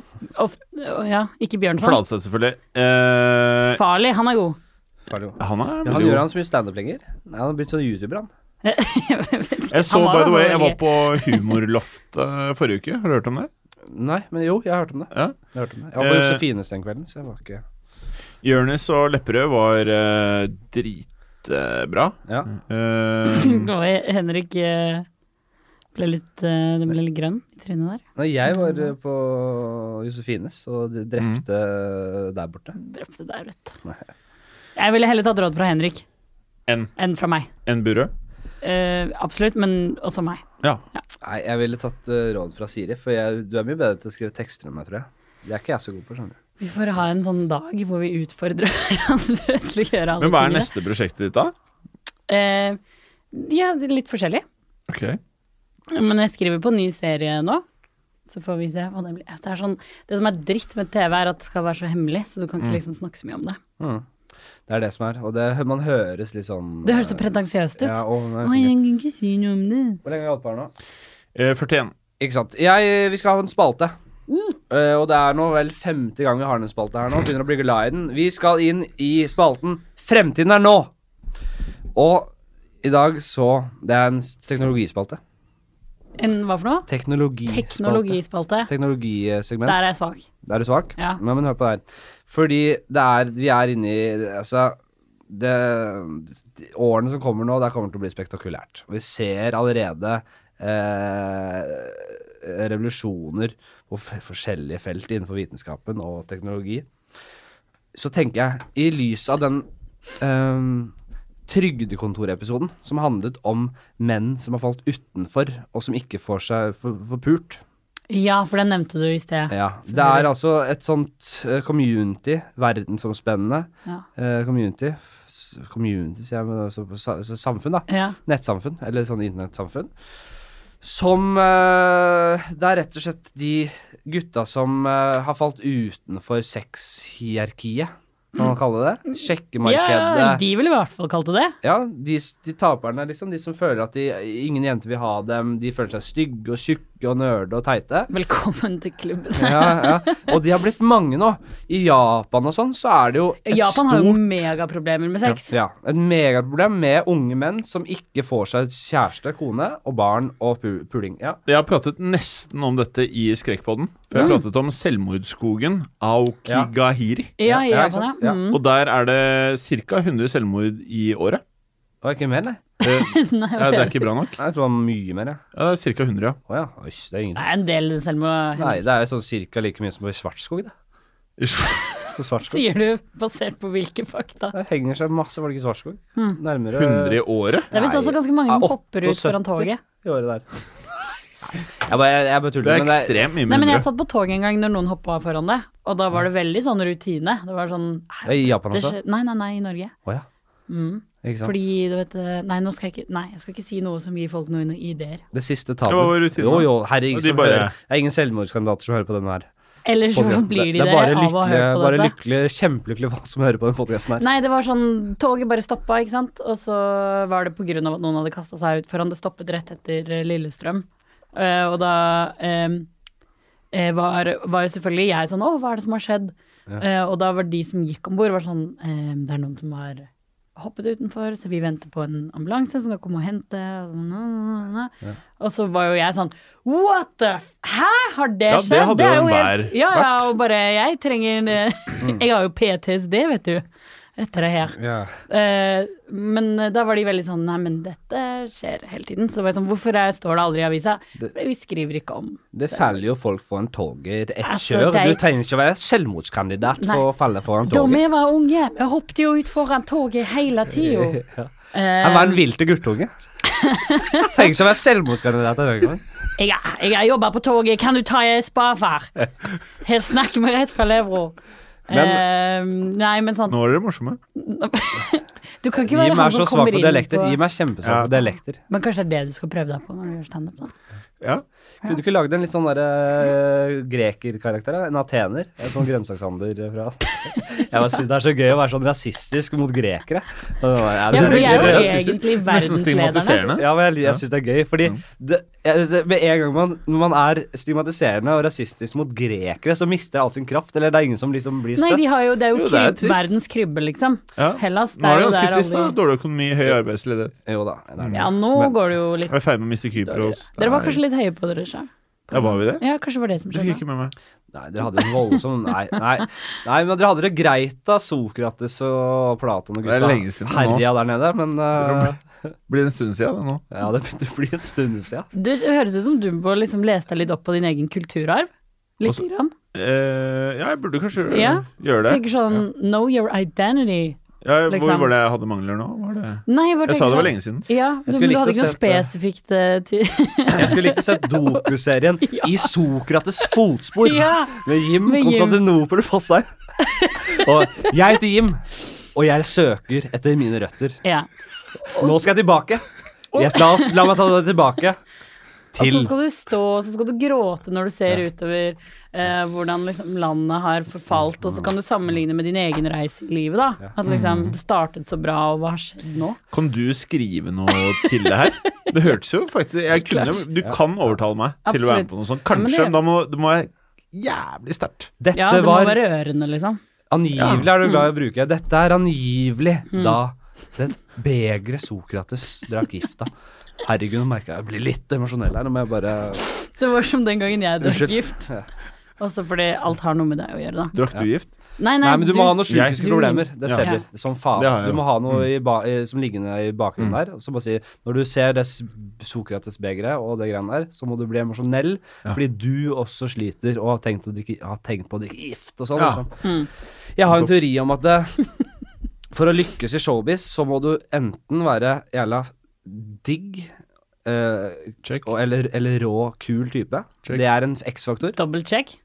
S4: Oft, Ja, ikke Bjørnson.
S3: Fladseth, selvfølgelig. Eh,
S4: Farlig, han er god. <laughs>
S2: Farlig.
S3: han er
S2: Ja, han
S3: veldig
S2: gjør
S3: god.
S2: han så mye standup lenger. Nei, Han har blitt sånn YouTuber, han.
S3: Jeg så,
S4: Han
S3: by
S4: var
S3: the way,
S4: veldig
S3: jeg
S4: gøy.
S3: var på Humorloft eh, forrige uke. Har du hørt om det?
S2: Nei, men jo, jeg har hørt om det.
S3: Ja.
S2: Jeg, har hørt om det. jeg var på
S3: Eh,
S2: Josefines den kvelden, så jeg var ikke
S3: Jonis og Lepperød var eh, dritbra.
S2: Ja.
S4: <laughs>
S3: Eh,
S4: Nå er Henrik eh, ble litt, eh, den ble litt grønn i trynet der.
S2: Nei, jeg var eh, på Josefines og de drepte der borte.
S4: Drepte deg, vet du. Jeg ville heller tatt råd fra Henrik
S3: Enn
S4: enn fra meg.
S3: en Burøe.
S4: Eh, absolutt, men også meg.
S3: Ja.
S2: Nei, jeg ville tatt eh, råd fra Siri, for jeg, du er mye bedre til å skrive tekster enn meg, tror jeg. Det er ikke jeg så god på, skjønner du.
S4: Vi får ha en sånn dag hvor vi utfordrer <laughs> hverandre til å gjøre alle
S3: Men hva er
S4: tingene.
S3: neste prosjektet ditt, da?
S4: Eh, ja, det er litt forskjellig.
S3: Ok.
S4: Men jeg skriver på en ny serie nå. Så får vi se hva det blir. Det, er sånn, det som er dritt med TV, er at det skal være så hemmelig, så du kan
S2: Mm.
S4: ikke liksom snakke så mye om det.
S2: Det er det som er. Og det, man høres litt sånn
S4: Det høres så
S2: eh,
S4: pretensiøst ut.
S2: Ja, å, nei,
S4: Å, jeg kan ikke si noe om det.
S2: Hvor lenge har vi holdt på her nå?
S3: Eh, 41.
S2: Ikke sant. Jeg, vi skal ha en spalte.
S4: Mm.
S2: Eh, og det er nå vel femte gang vi har den spalte her nå. Begynner å bli glad i den. Vi skal inn i spalten Fremtiden er nå! Og i dag så Det er en s- teknologispalte.
S4: En, hva for noe?
S2: Teknologispalte.
S4: Teknologispalte.
S2: Teknologisegment.
S4: Der er jeg svak.
S2: Er du svak?
S4: Ja.
S2: Nei, men hør på det her. Fordi det er Vi er inne i Altså det, de Årene som kommer nå, det kommer til å bli spektakulært. Vi ser allerede eh, revolusjoner på f forskjellige felt innenfor vitenskapen og teknologi. Så tenker jeg, i lys av den eh, Trygdekontorepisoden som handlet om menn som har falt utenfor, og som ikke får seg for- forpult.
S4: Ja, for den nevnte du i sted.
S2: Ja, det er altså et sånt eh, community, verdensomspennende
S4: Ja.
S2: eh, community, s- community sier jeg, men altså på sa- altså samfunn da,
S4: Ja.
S2: nettsamfunn, eller sånn internettsamfunn, som eh, det er rett og slett de gutta som eh, har falt utenfor sexhierarkiet, kan man kalle det, sjekkemarkedet.
S4: Mm. ja, de ville i hvert fall kalt det det.
S2: Ja, de, de taperne, liksom. De som føler at de, ingen jenter vil ha dem. De føler seg stygge og tjukke og nerde og teite.
S4: Velkommen til klubben.
S2: ja, ja. Og de har blitt mange nå. I Japan og sånn så er det jo et
S4: <laughs> Japan har jo
S2: stort
S4: megaproblemer med sex.
S2: ja, et megaproblem med unge menn som ikke får seg kjæreste, kone og barn og pu puling. Ja.
S3: Jeg har pratet nesten om dette i Skrekkpodden. For jeg har pratet om selvmordsskogen Aokigahiri.
S4: Ja, i
S2: Ja, ja, ikke
S4: Japan,
S2: sant?
S4: ja.
S2: Ja.
S4: Mm.
S3: Og der er det ca. 100 selvmord i
S4: <laughs>
S3: året.
S2: Det var ikke mer, nei.
S3: Eh, ja, det er ikke bra nok.
S2: Nei, Jeg tror det var mye mer, jeg.
S3: Ja, det er ca. 100, ja.
S2: Å ja. Oi, det er
S4: Det
S2: ingenting.
S4: er en del selvmord.
S2: Nei, det er jo sånn cirka like mye som i Svartskog, det. Så Svartskog.
S4: <laughs> Sier du basert på hvilke fakta?
S2: Det henger seg masse folk i Svartskog.
S4: Hmm.
S2: Nærmere
S3: 100 i året?
S4: Det er visst
S2: Nei,
S4: også ganske mange som
S2: er
S4: hopper ut foran
S2: 78.
S4: toget.
S2: i året
S3: <laughs>
S2: der. Jeg bare, jeg, jeg bare
S3: Det
S2: tuller,
S3: er
S2: men det er
S3: ekstremt mye
S4: Nei, men jeg
S3: mindre.
S4: satt på toget en gang når noen hoppa foran deg, og da var det veldig sånn rutine. Det var sånn
S2: det er i Japan
S4: det
S2: også.
S4: skje- Nei, nei, nei, i Norge.
S2: Å ja.
S4: Mm.
S2: Ikke sant.
S4: Fordi du vet eh, Nei, nå skal jeg ikke Nei, jeg skal ikke si noe som gir folk noen ideer.
S2: Det siste tabu.
S3: Det var vår rutine.
S2: Jo, jo, herre, ingen
S3: Og de
S2: som
S3: bare-
S2: hører. Det er ingen selvmordskandidater som hører på denne her.
S4: Ellers så
S2: podcasten.
S4: blir de
S2: det
S4: det,
S2: er bare
S4: av å
S2: lykkelige,
S4: høre på
S2: bare
S4: dette.
S2: lykkelige, kjempelykkelige folk som hører på den podkasten her.
S4: Nei, det var sånn Toget bare stoppa, ikke sant. Og så var det på grunn av at noen hadde kasta seg ut foran. Det stoppet rett etter eh, Lillestrøm. Eh, og da eh, eh, var, var jo selvfølgelig jeg sånn Å, hva er det som har skjedd? Eh, og da var de som gikk om bord, var sånn eh, Det er noen som har hoppet utenfor, så vi venter på en ambulanse som skal komme og hente. Og, sånn, na, na, na, na. og så var jo jeg sånn What the f... Hæ, har det
S3: Ja, det
S4: skjedd?
S3: hadde
S4: er
S3: jo
S4: jo helt-
S3: enhver
S4: Ja, ja,
S3: vært.
S4: og bare Jeg trenger en eh,
S2: Mm.
S4: <laughs> Jeg har jo PTSD, vet du. Etter det her.
S2: Ja.
S4: Eh, men da var de veldig sånn Nei, men dette skjer hele tiden. Så var jeg sånn Hvorfor er- står det aldri i avisa? Fordi vi skriver ikke om
S2: Det faller jo folk foran toget i ett
S4: Altså,
S2: kjør.
S4: det er-
S2: Du trenger ikke å være selvmordskandidat
S4: Nei.
S2: for å falle foran
S4: Da
S2: toget.
S4: vi var
S2: <laughs>
S4: unge, jeg hoppet jo ut foran toget hele Eh, tida. <laughs>
S2: Han var en vilte guttunge. Tenk ikke å være selvmordskandidat. i Norge.
S4: Jeg, har- jeg har jobba på toget, kan du ta ei spafar?
S2: <laughs>
S4: Her snakker vi rett fra levra. Eh, nei, men sant
S3: Nå er dere morsomme.
S4: Du kan ikke
S2: Gi
S4: være han
S2: meg så
S4: sånn som
S2: svak
S4: kommer
S2: for
S4: inn
S2: dialekter. Gi
S4: på
S2: meg kjempesvak for
S3: Ja.
S2: dialekter.
S4: Men kanskje det er det du skal prøve deg på når du gjør standup? da?
S3: Ja.
S2: Kunne du ikke lagd en litt sånn der, eh, grekerkarakter? da? En atener? En sånn grønnsakshandler fra Jeg bare synes Det er så gøy å være sånn rasistisk mot grekere. Og det var- Ja,
S4: Ja, for
S2: det-
S4: de er
S2: det-
S4: jo
S2: det-
S4: egentlig
S3: Nesten
S4: verdenslederne.
S3: stigmatiserende.
S2: Ja, men jeg, jeg syns det er gøy. Fordi det, jeg- det, med en gang man, når man er stigmatiserende og rasistisk mot grekere, så mister all sin kraft. Eller det er ingen som liksom blir
S4: Nei,
S2: støtt.
S4: de har jo, det er jo,
S3: Jo, det er
S4: kryb-
S3: trist.
S4: verdens krybbe, liksom.
S3: Ja.
S4: Hellas, det
S3: Nå er
S4: er
S3: det
S4: jo
S3: ganske
S4: der
S3: trist, da.
S4: alle
S3: Dårlig økonomi, høy arbeidsledighet.
S2: Jo da. det er det.
S4: Ja, nå
S2: Men-
S4: går det jo
S3: Jeg
S4: litt
S3: var i ferd med å miste Kypros.
S4: Dere var
S3: Nei.
S4: kanskje litt høye på dere sjøl?
S3: Ja, var vi det?
S4: Ja, kanskje det var det som
S3: Det fikk jeg
S4: skjedde.
S3: ikke med meg.
S2: Nei, dere hadde en voldsom Nei, nei, nei men dere hadde det greit da, Sokrates og Platon og
S3: Det er
S2: gutta.
S3: lenge siden nå.
S2: Herja der nede, men eh,
S3: Blir det en stund siden det nå?
S2: Ja, det begynte å bli en stund siden.
S4: Det høres ut som Dumbo liksom leste litt opp på din egen kulturarv. Litt.
S3: Også-
S4: grann.
S3: Eh, ja, jeg burde kanskje gjøre,
S4: Ja.
S3: gjøre det.
S4: Tenker sånn know your identity.
S3: Ja, hvor
S4: liksom.
S3: var det jeg hadde mangler nå? Var det?
S4: Nei, jeg bare
S3: Jeg sa
S4: tenker
S3: det var
S4: sånn-
S3: lenge siden.
S4: Ja,
S2: Jeg
S4: men
S2: skulle
S4: du hadde
S2: likt
S4: ikke
S2: å
S4: noe spesifikt eh, til
S2: Jeg skulle likt å sett
S4: <laughs>
S2: dokuserien I Sokrates fotspor
S4: Ja.
S2: med Jim
S4: Med Jim.
S2: Konstantinopel Fossheim. og jeg heter Jim, og jeg søker etter mine røtter.
S4: Ja.
S2: Nå skal jeg tilbake. Yes, la, oss, la meg ta det tilbake.
S4: Og så
S2: Til
S4: skal du stå, og så skal du gråte når du ser utover eh, hvordan liksom landet har forfalt, og så kan du sammenligne med din egen reise i livet, da. At
S2: Mm.
S4: liksom det startet så bra, og hva har skjedd nå?
S3: Kan du skrive noe til det her? Det hørtes jo faktisk jeg kunne,
S4: Klart.
S3: Du kan overtale meg til å være med på noe sånt.
S4: Ja, men det-
S3: Kanskje. men Da må, det må jeg jævlig sterkt.
S2: Dette
S4: Ja, det må
S2: var
S4: være ørene, liksom.
S2: Angivelig er du glad i å bruke. Dette er angivelig
S4: Mm.
S2: da den begre Sokrates drakk gifta. Herregud, nå merker jeg jeg blir litt emosjonell her. Nå må jeg bare
S4: Det var som den gangen jeg drakk
S2: Unnskyld.
S4: gift.
S2: Ja.
S4: Også fordi alt har noe med deg å gjøre, da.
S3: Drakk du gift?
S4: Nei, nei,
S2: Nei, men du må ha noen psykiske
S4: du-
S2: problemer. Det
S3: Ja.
S2: selger. Som faen.
S3: Det har jeg
S2: Du
S3: jo.
S2: må
S3: Mm.
S2: ha noe i ba i, som liggende i bakgrunnen der. Og så bare si Når du ser det s- Sokrates-begeret og det greiene der, så må du bli emosjonell. Fordi du også sliter og har tenkt, å drikke, har tenkt på å drikke gift og sånn.
S3: Ja.
S2: Liksom. Jeg har en teori om at det, for å lykkes i showbiz, så må du enten være jævla digg eh,
S3: Check.
S2: og, eller, eller rå, kul type.
S3: Check.
S2: Det er en X-faktor.
S4: Double check.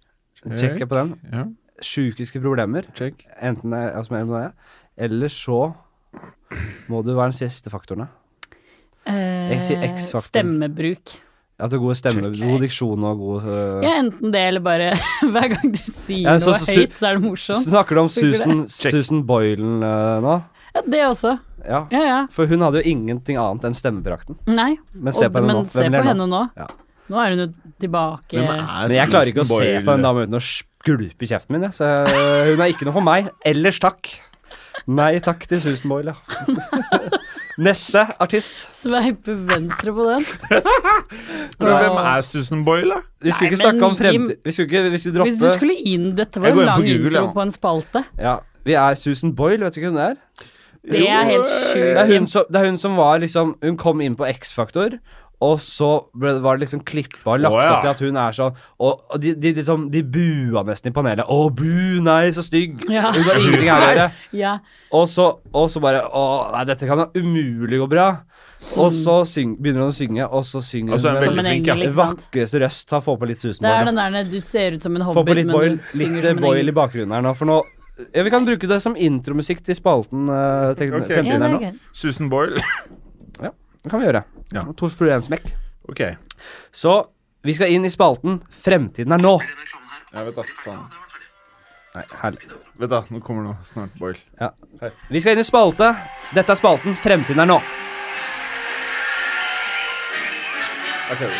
S2: Sjekker på den.
S3: Ja,
S2: Psykiske problemer.
S3: check.
S2: Enten det er altså, mellom det. Eller så må du være den siste faktoren. da.
S4: Eh,
S2: Jeg sier X-faktor.
S4: stemmebruk.
S2: At du har god stemme,
S4: Check.
S2: god diksjon og god øh,
S4: Ja, enten det eller bare <laughs> hver gang du sier
S2: Ja, så
S4: noe
S2: su-
S4: høyt, så er det morsomt.
S2: Snakker du om
S4: Funker det?
S2: Susan,
S3: Check.
S2: Susan Boylan øh, nå?
S4: Ja, det også.
S2: Ja.
S4: Ja, ja.
S2: For hun hadde jo ingenting annet enn stemmeprakten.
S4: Nei.
S2: Men se
S4: Og-
S2: på henne nå.
S4: men se
S2: Hvem
S4: på
S2: ler
S4: henne
S2: nå?
S4: nå.
S2: Ja.
S4: Nå er hun jo tilbake
S3: Hvem er
S2: Men jeg klarer ikke å
S3: Susan
S2: se
S3: Boyle?
S2: på en dame uten å skvulpe i kjeften min, jeg. Så øh, hun er ikke noe for meg. Ellers takk. Nei takk til Susan Boyle. ja. <laughs> Neste artist.
S4: Sveipe venstre på
S2: <laughs>
S4: den.
S3: Men hvem er Susan Boyle, da?
S2: Vi skulle
S4: Nei,
S2: ikke snakke
S4: men
S2: om
S4: Jim-
S2: fremtid... Vi skulle ikke vi skulle droppe
S4: Hvis du skulle inn Dette var
S3: Jeg
S4: jo
S3: går inn
S4: en lang
S3: på Google,
S4: intro
S3: ja.
S4: på en spalte.
S2: Ja, vi er Susan Boyle, vet du ikke hvem det er?
S4: Det er helt
S3: eh,
S2: Det er hun
S4: sjukt.
S2: som, det er hun som var liksom Hun kom inn på X-Faktor, og så ble, var det liksom klippa og lagt
S3: Å, ja.
S2: opp til at hun er sånn Og, og de, de, liksom, de bua nesten i panelet. 'Å, bu, nei, så stygg'.
S4: Ja.
S2: Hun har ingenting her å gjøre.
S4: Ja.
S2: Og så, og så bare 'Å, nei, dette kan da umulig gå bra'. Og så syng, begynner hun å synge, og så synger
S3: Og så er hun
S2: hun sånn,
S4: Som
S3: veldig
S4: en
S3: flink,
S4: engel,
S3: ja.
S4: ikke sant?
S2: vakreste røst. Ta Få på litt Susan
S4: Det er
S2: Boyle.
S4: den der du ser ut som en
S2: Få på
S4: hobbit,
S2: litt
S4: men
S2: Boyle,
S4: du
S2: litt
S4: synger som en
S2: Boyle i
S4: engel.
S2: bakgrunnen her nå, for nå ja, Vi kan bruke det som intromusikk til spalten. Uh,
S3: Ok.
S4: Ja, det er
S2: nå.
S4: gøy.
S3: Susan Boyle. <laughs>
S2: Det kan vi gjøre.
S3: Ja.
S2: To fluer i en smekk.
S3: Ok.
S2: Så vi skal inn i spalten 'Fremtiden er nå'.
S3: Jeg vet da, faen.
S2: Nei, herlig.
S3: Vet da, nå kommer nå snart Boyle.
S2: Ja. Vi skal inn i spalte. Dette er spalten 'Fremtiden er nå'.
S3: Okay.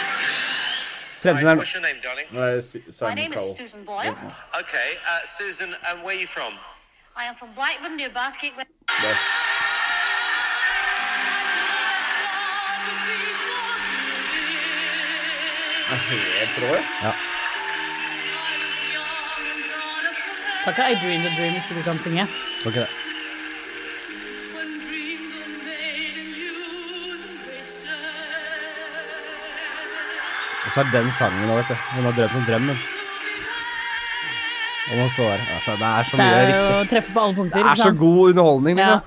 S2: Fremtiden er nå.
S5: What's your name, darling?
S3: Nå er jeg Si-
S6: My
S3: Simon
S6: name is
S3: Cowell.
S6: Susan Boyle.
S5: Okay, uh, Susan, and where are you from?
S6: I am from Blackburn near Bathgate. West-
S3: Helt rå, jeg.
S4: Takk til I Dream the Dream hvis du kan synge.
S2: Ok, da. Og så er den sangen nå, vet du. Hun har drømt om drømmen. Og man står her. Altså, det er så
S4: Det
S2: mye
S4: er
S2: riktig.
S4: jo å treffe på alle punkter.
S2: Det er
S4: ikke
S2: så
S4: sant?
S2: god underholdning,
S4: Ja.
S2: liksom.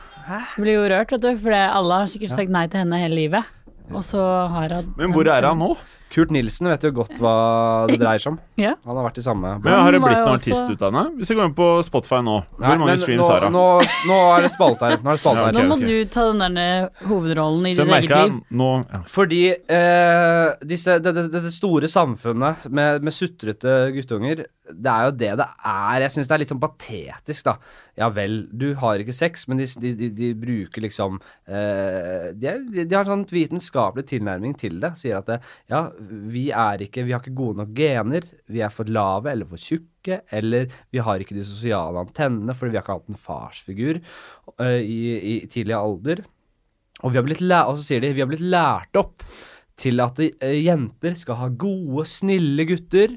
S4: Du blir jo rørt, vet du, for alle har sikkert sagt nei til henne hele livet. Og så har han
S3: Men hvor er han nå?
S2: Kurt Nilsen vet jo godt hva det dreier seg om.
S4: Ja.
S2: Han har vært i samme
S3: Men har det
S4: var
S3: blitt
S4: jo
S3: noen
S4: også-
S3: artist ut av henne? Hvis jeg går inn på Spotify nå,
S2: Nei,
S3: hvor mange
S2: men nå,
S3: streams har hun?
S2: Nå, nå er det spalte her. Nå er det spalte
S3: Ja,
S2: her.
S4: Nå må
S3: ok.
S4: du ta den der hovedrollen i
S3: Så
S4: ditt
S3: jeg
S4: eget
S3: merker
S4: liv.
S3: jeg nå ja.
S2: Fordi eh, disse, det, det, dette store samfunnet med, med sutrete guttunger, det er jo det det er. Jeg syns det er litt sånn patetisk, da. Ja vel, du har ikke sex, men de, de, de, de bruker liksom eh, de, er- de, de har en sånn vitenskapelig tilnærming til det. Sier at det, ja, vi er ikke Vi har ikke gode nok gener. Vi er for lave eller for tjukke. Eller vi har ikke de sosiale antennene fordi vi har ikke hatt en farsfigur eh, i, i tidlig alder. Og, vi har blitt læ og så sier de vi har blitt lært opp til at eh, jenter skal ha gode, snille gutter.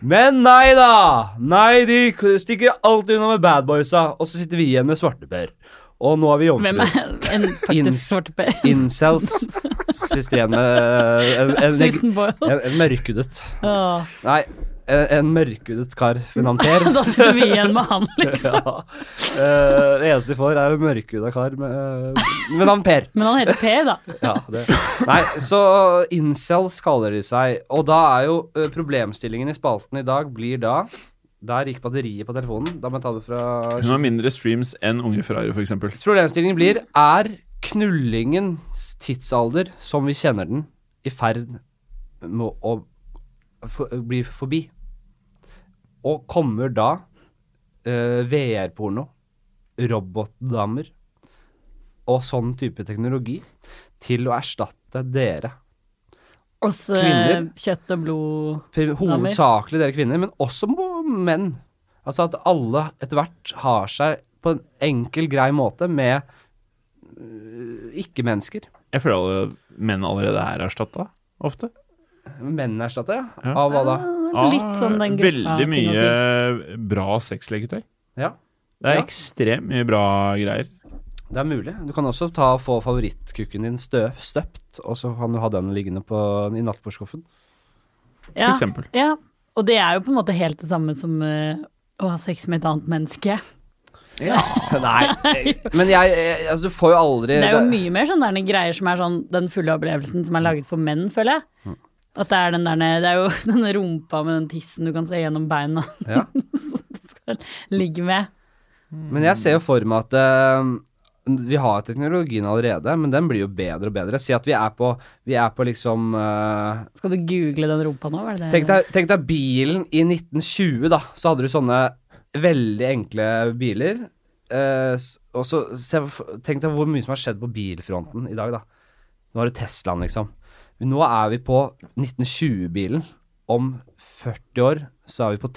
S2: Men nei da! Nei, de k- stikker alltid unna med badboysa, og så sitter vi igjen med svarteper. Og nå er vi
S4: Hvem
S2: jomfruer.
S4: er <laughs> en
S2: Inn-
S4: faktisk svart per?
S2: Incels sitter igjen med eh, en,
S4: <laughs>
S2: en, en,
S4: Susan Boyle.
S2: en, en mørkhudet
S4: Åh,
S2: Nei, en, en mørkhudet kar ved navn Per.
S4: <laughs> Da sitter vi igjen med han, liksom.
S2: ja. Eh, det eneste de får, er en mørkhuda kar med, eh, med navn Per.
S4: Men han heter Per, da.
S2: Ja, det. Nei, så incels kaller de seg. Og da er jo ø, problemstillingen i spalten i dag blir da Der gikk batteriet på telefonen. Da må jeg ta det
S3: Hun
S2: fra
S3: har mindre streams enn Unge Ferrari, f.eks.
S2: Problemstillingen blir er knullingens tidsalder, som vi kjenner den, i ferd med å for, bli forbi? Og kommer da ø, VR-porno, robotdamer og sånn type teknologi til å erstatte dere?
S4: Og så
S2: Kvinner.
S4: eh, kjøtt og blod.
S2: pri- hovedsakelig dere kvinner, men også må- menn. Altså at alle etter hvert har seg på en enkel, grei måte med øh, ikke-mennesker.
S3: Jeg føler allerede menn allerede er erstatta, ofte.
S2: Menn erstatter, ja.
S3: Ja.
S2: Av hva da?
S4: Litt sånn den gruppa,
S3: Veldig
S4: ting å
S3: mye bra sexleketøy.
S2: Ja,
S3: Det er
S2: Ja.
S3: ekstremt mye bra greier.
S2: det er mulig. Du kan også ta, få favorittkukken din stø, støpt, og så kan du ha den liggende på, i nattbordskuffen. <laughs>
S4: Ja,
S3: eksempel.
S4: Ja. Og det er jo på en måte helt det samme som eh, å ha sex med et annet menneske.
S3: Eh,
S2: Ja. Nei, men jeg, jeg Altså, du får jo aldri
S4: Det er jo mye mer sånn derne greier som er sånn den fulle opplevelsen
S3: Mm.
S4: som er laget for menn, føler jeg. At det er den derne Det er jo <laughs> den rumpa med den tissen du kan se gjennom beina <laughs>
S2: Ja.
S4: ligge med.
S2: Men jeg ser jo for meg at eh, vi har teknologien allerede, men den blir jo bedre og bedre. Si at vi er på, vi er på liksom eh,
S4: Skal du google den rumpa nå, var det det?
S2: tenk, deg, tenk deg bilen i 1920, da. Så hadde du sånne veldig enkle biler. Eh, s- og så se, f- Tenk deg hvor mye som har skjedd på bilfronten i dag, da. Nå har du Teslaen, liksom. Men nå er vi på 1920-bilen. Om 40 år så er vi på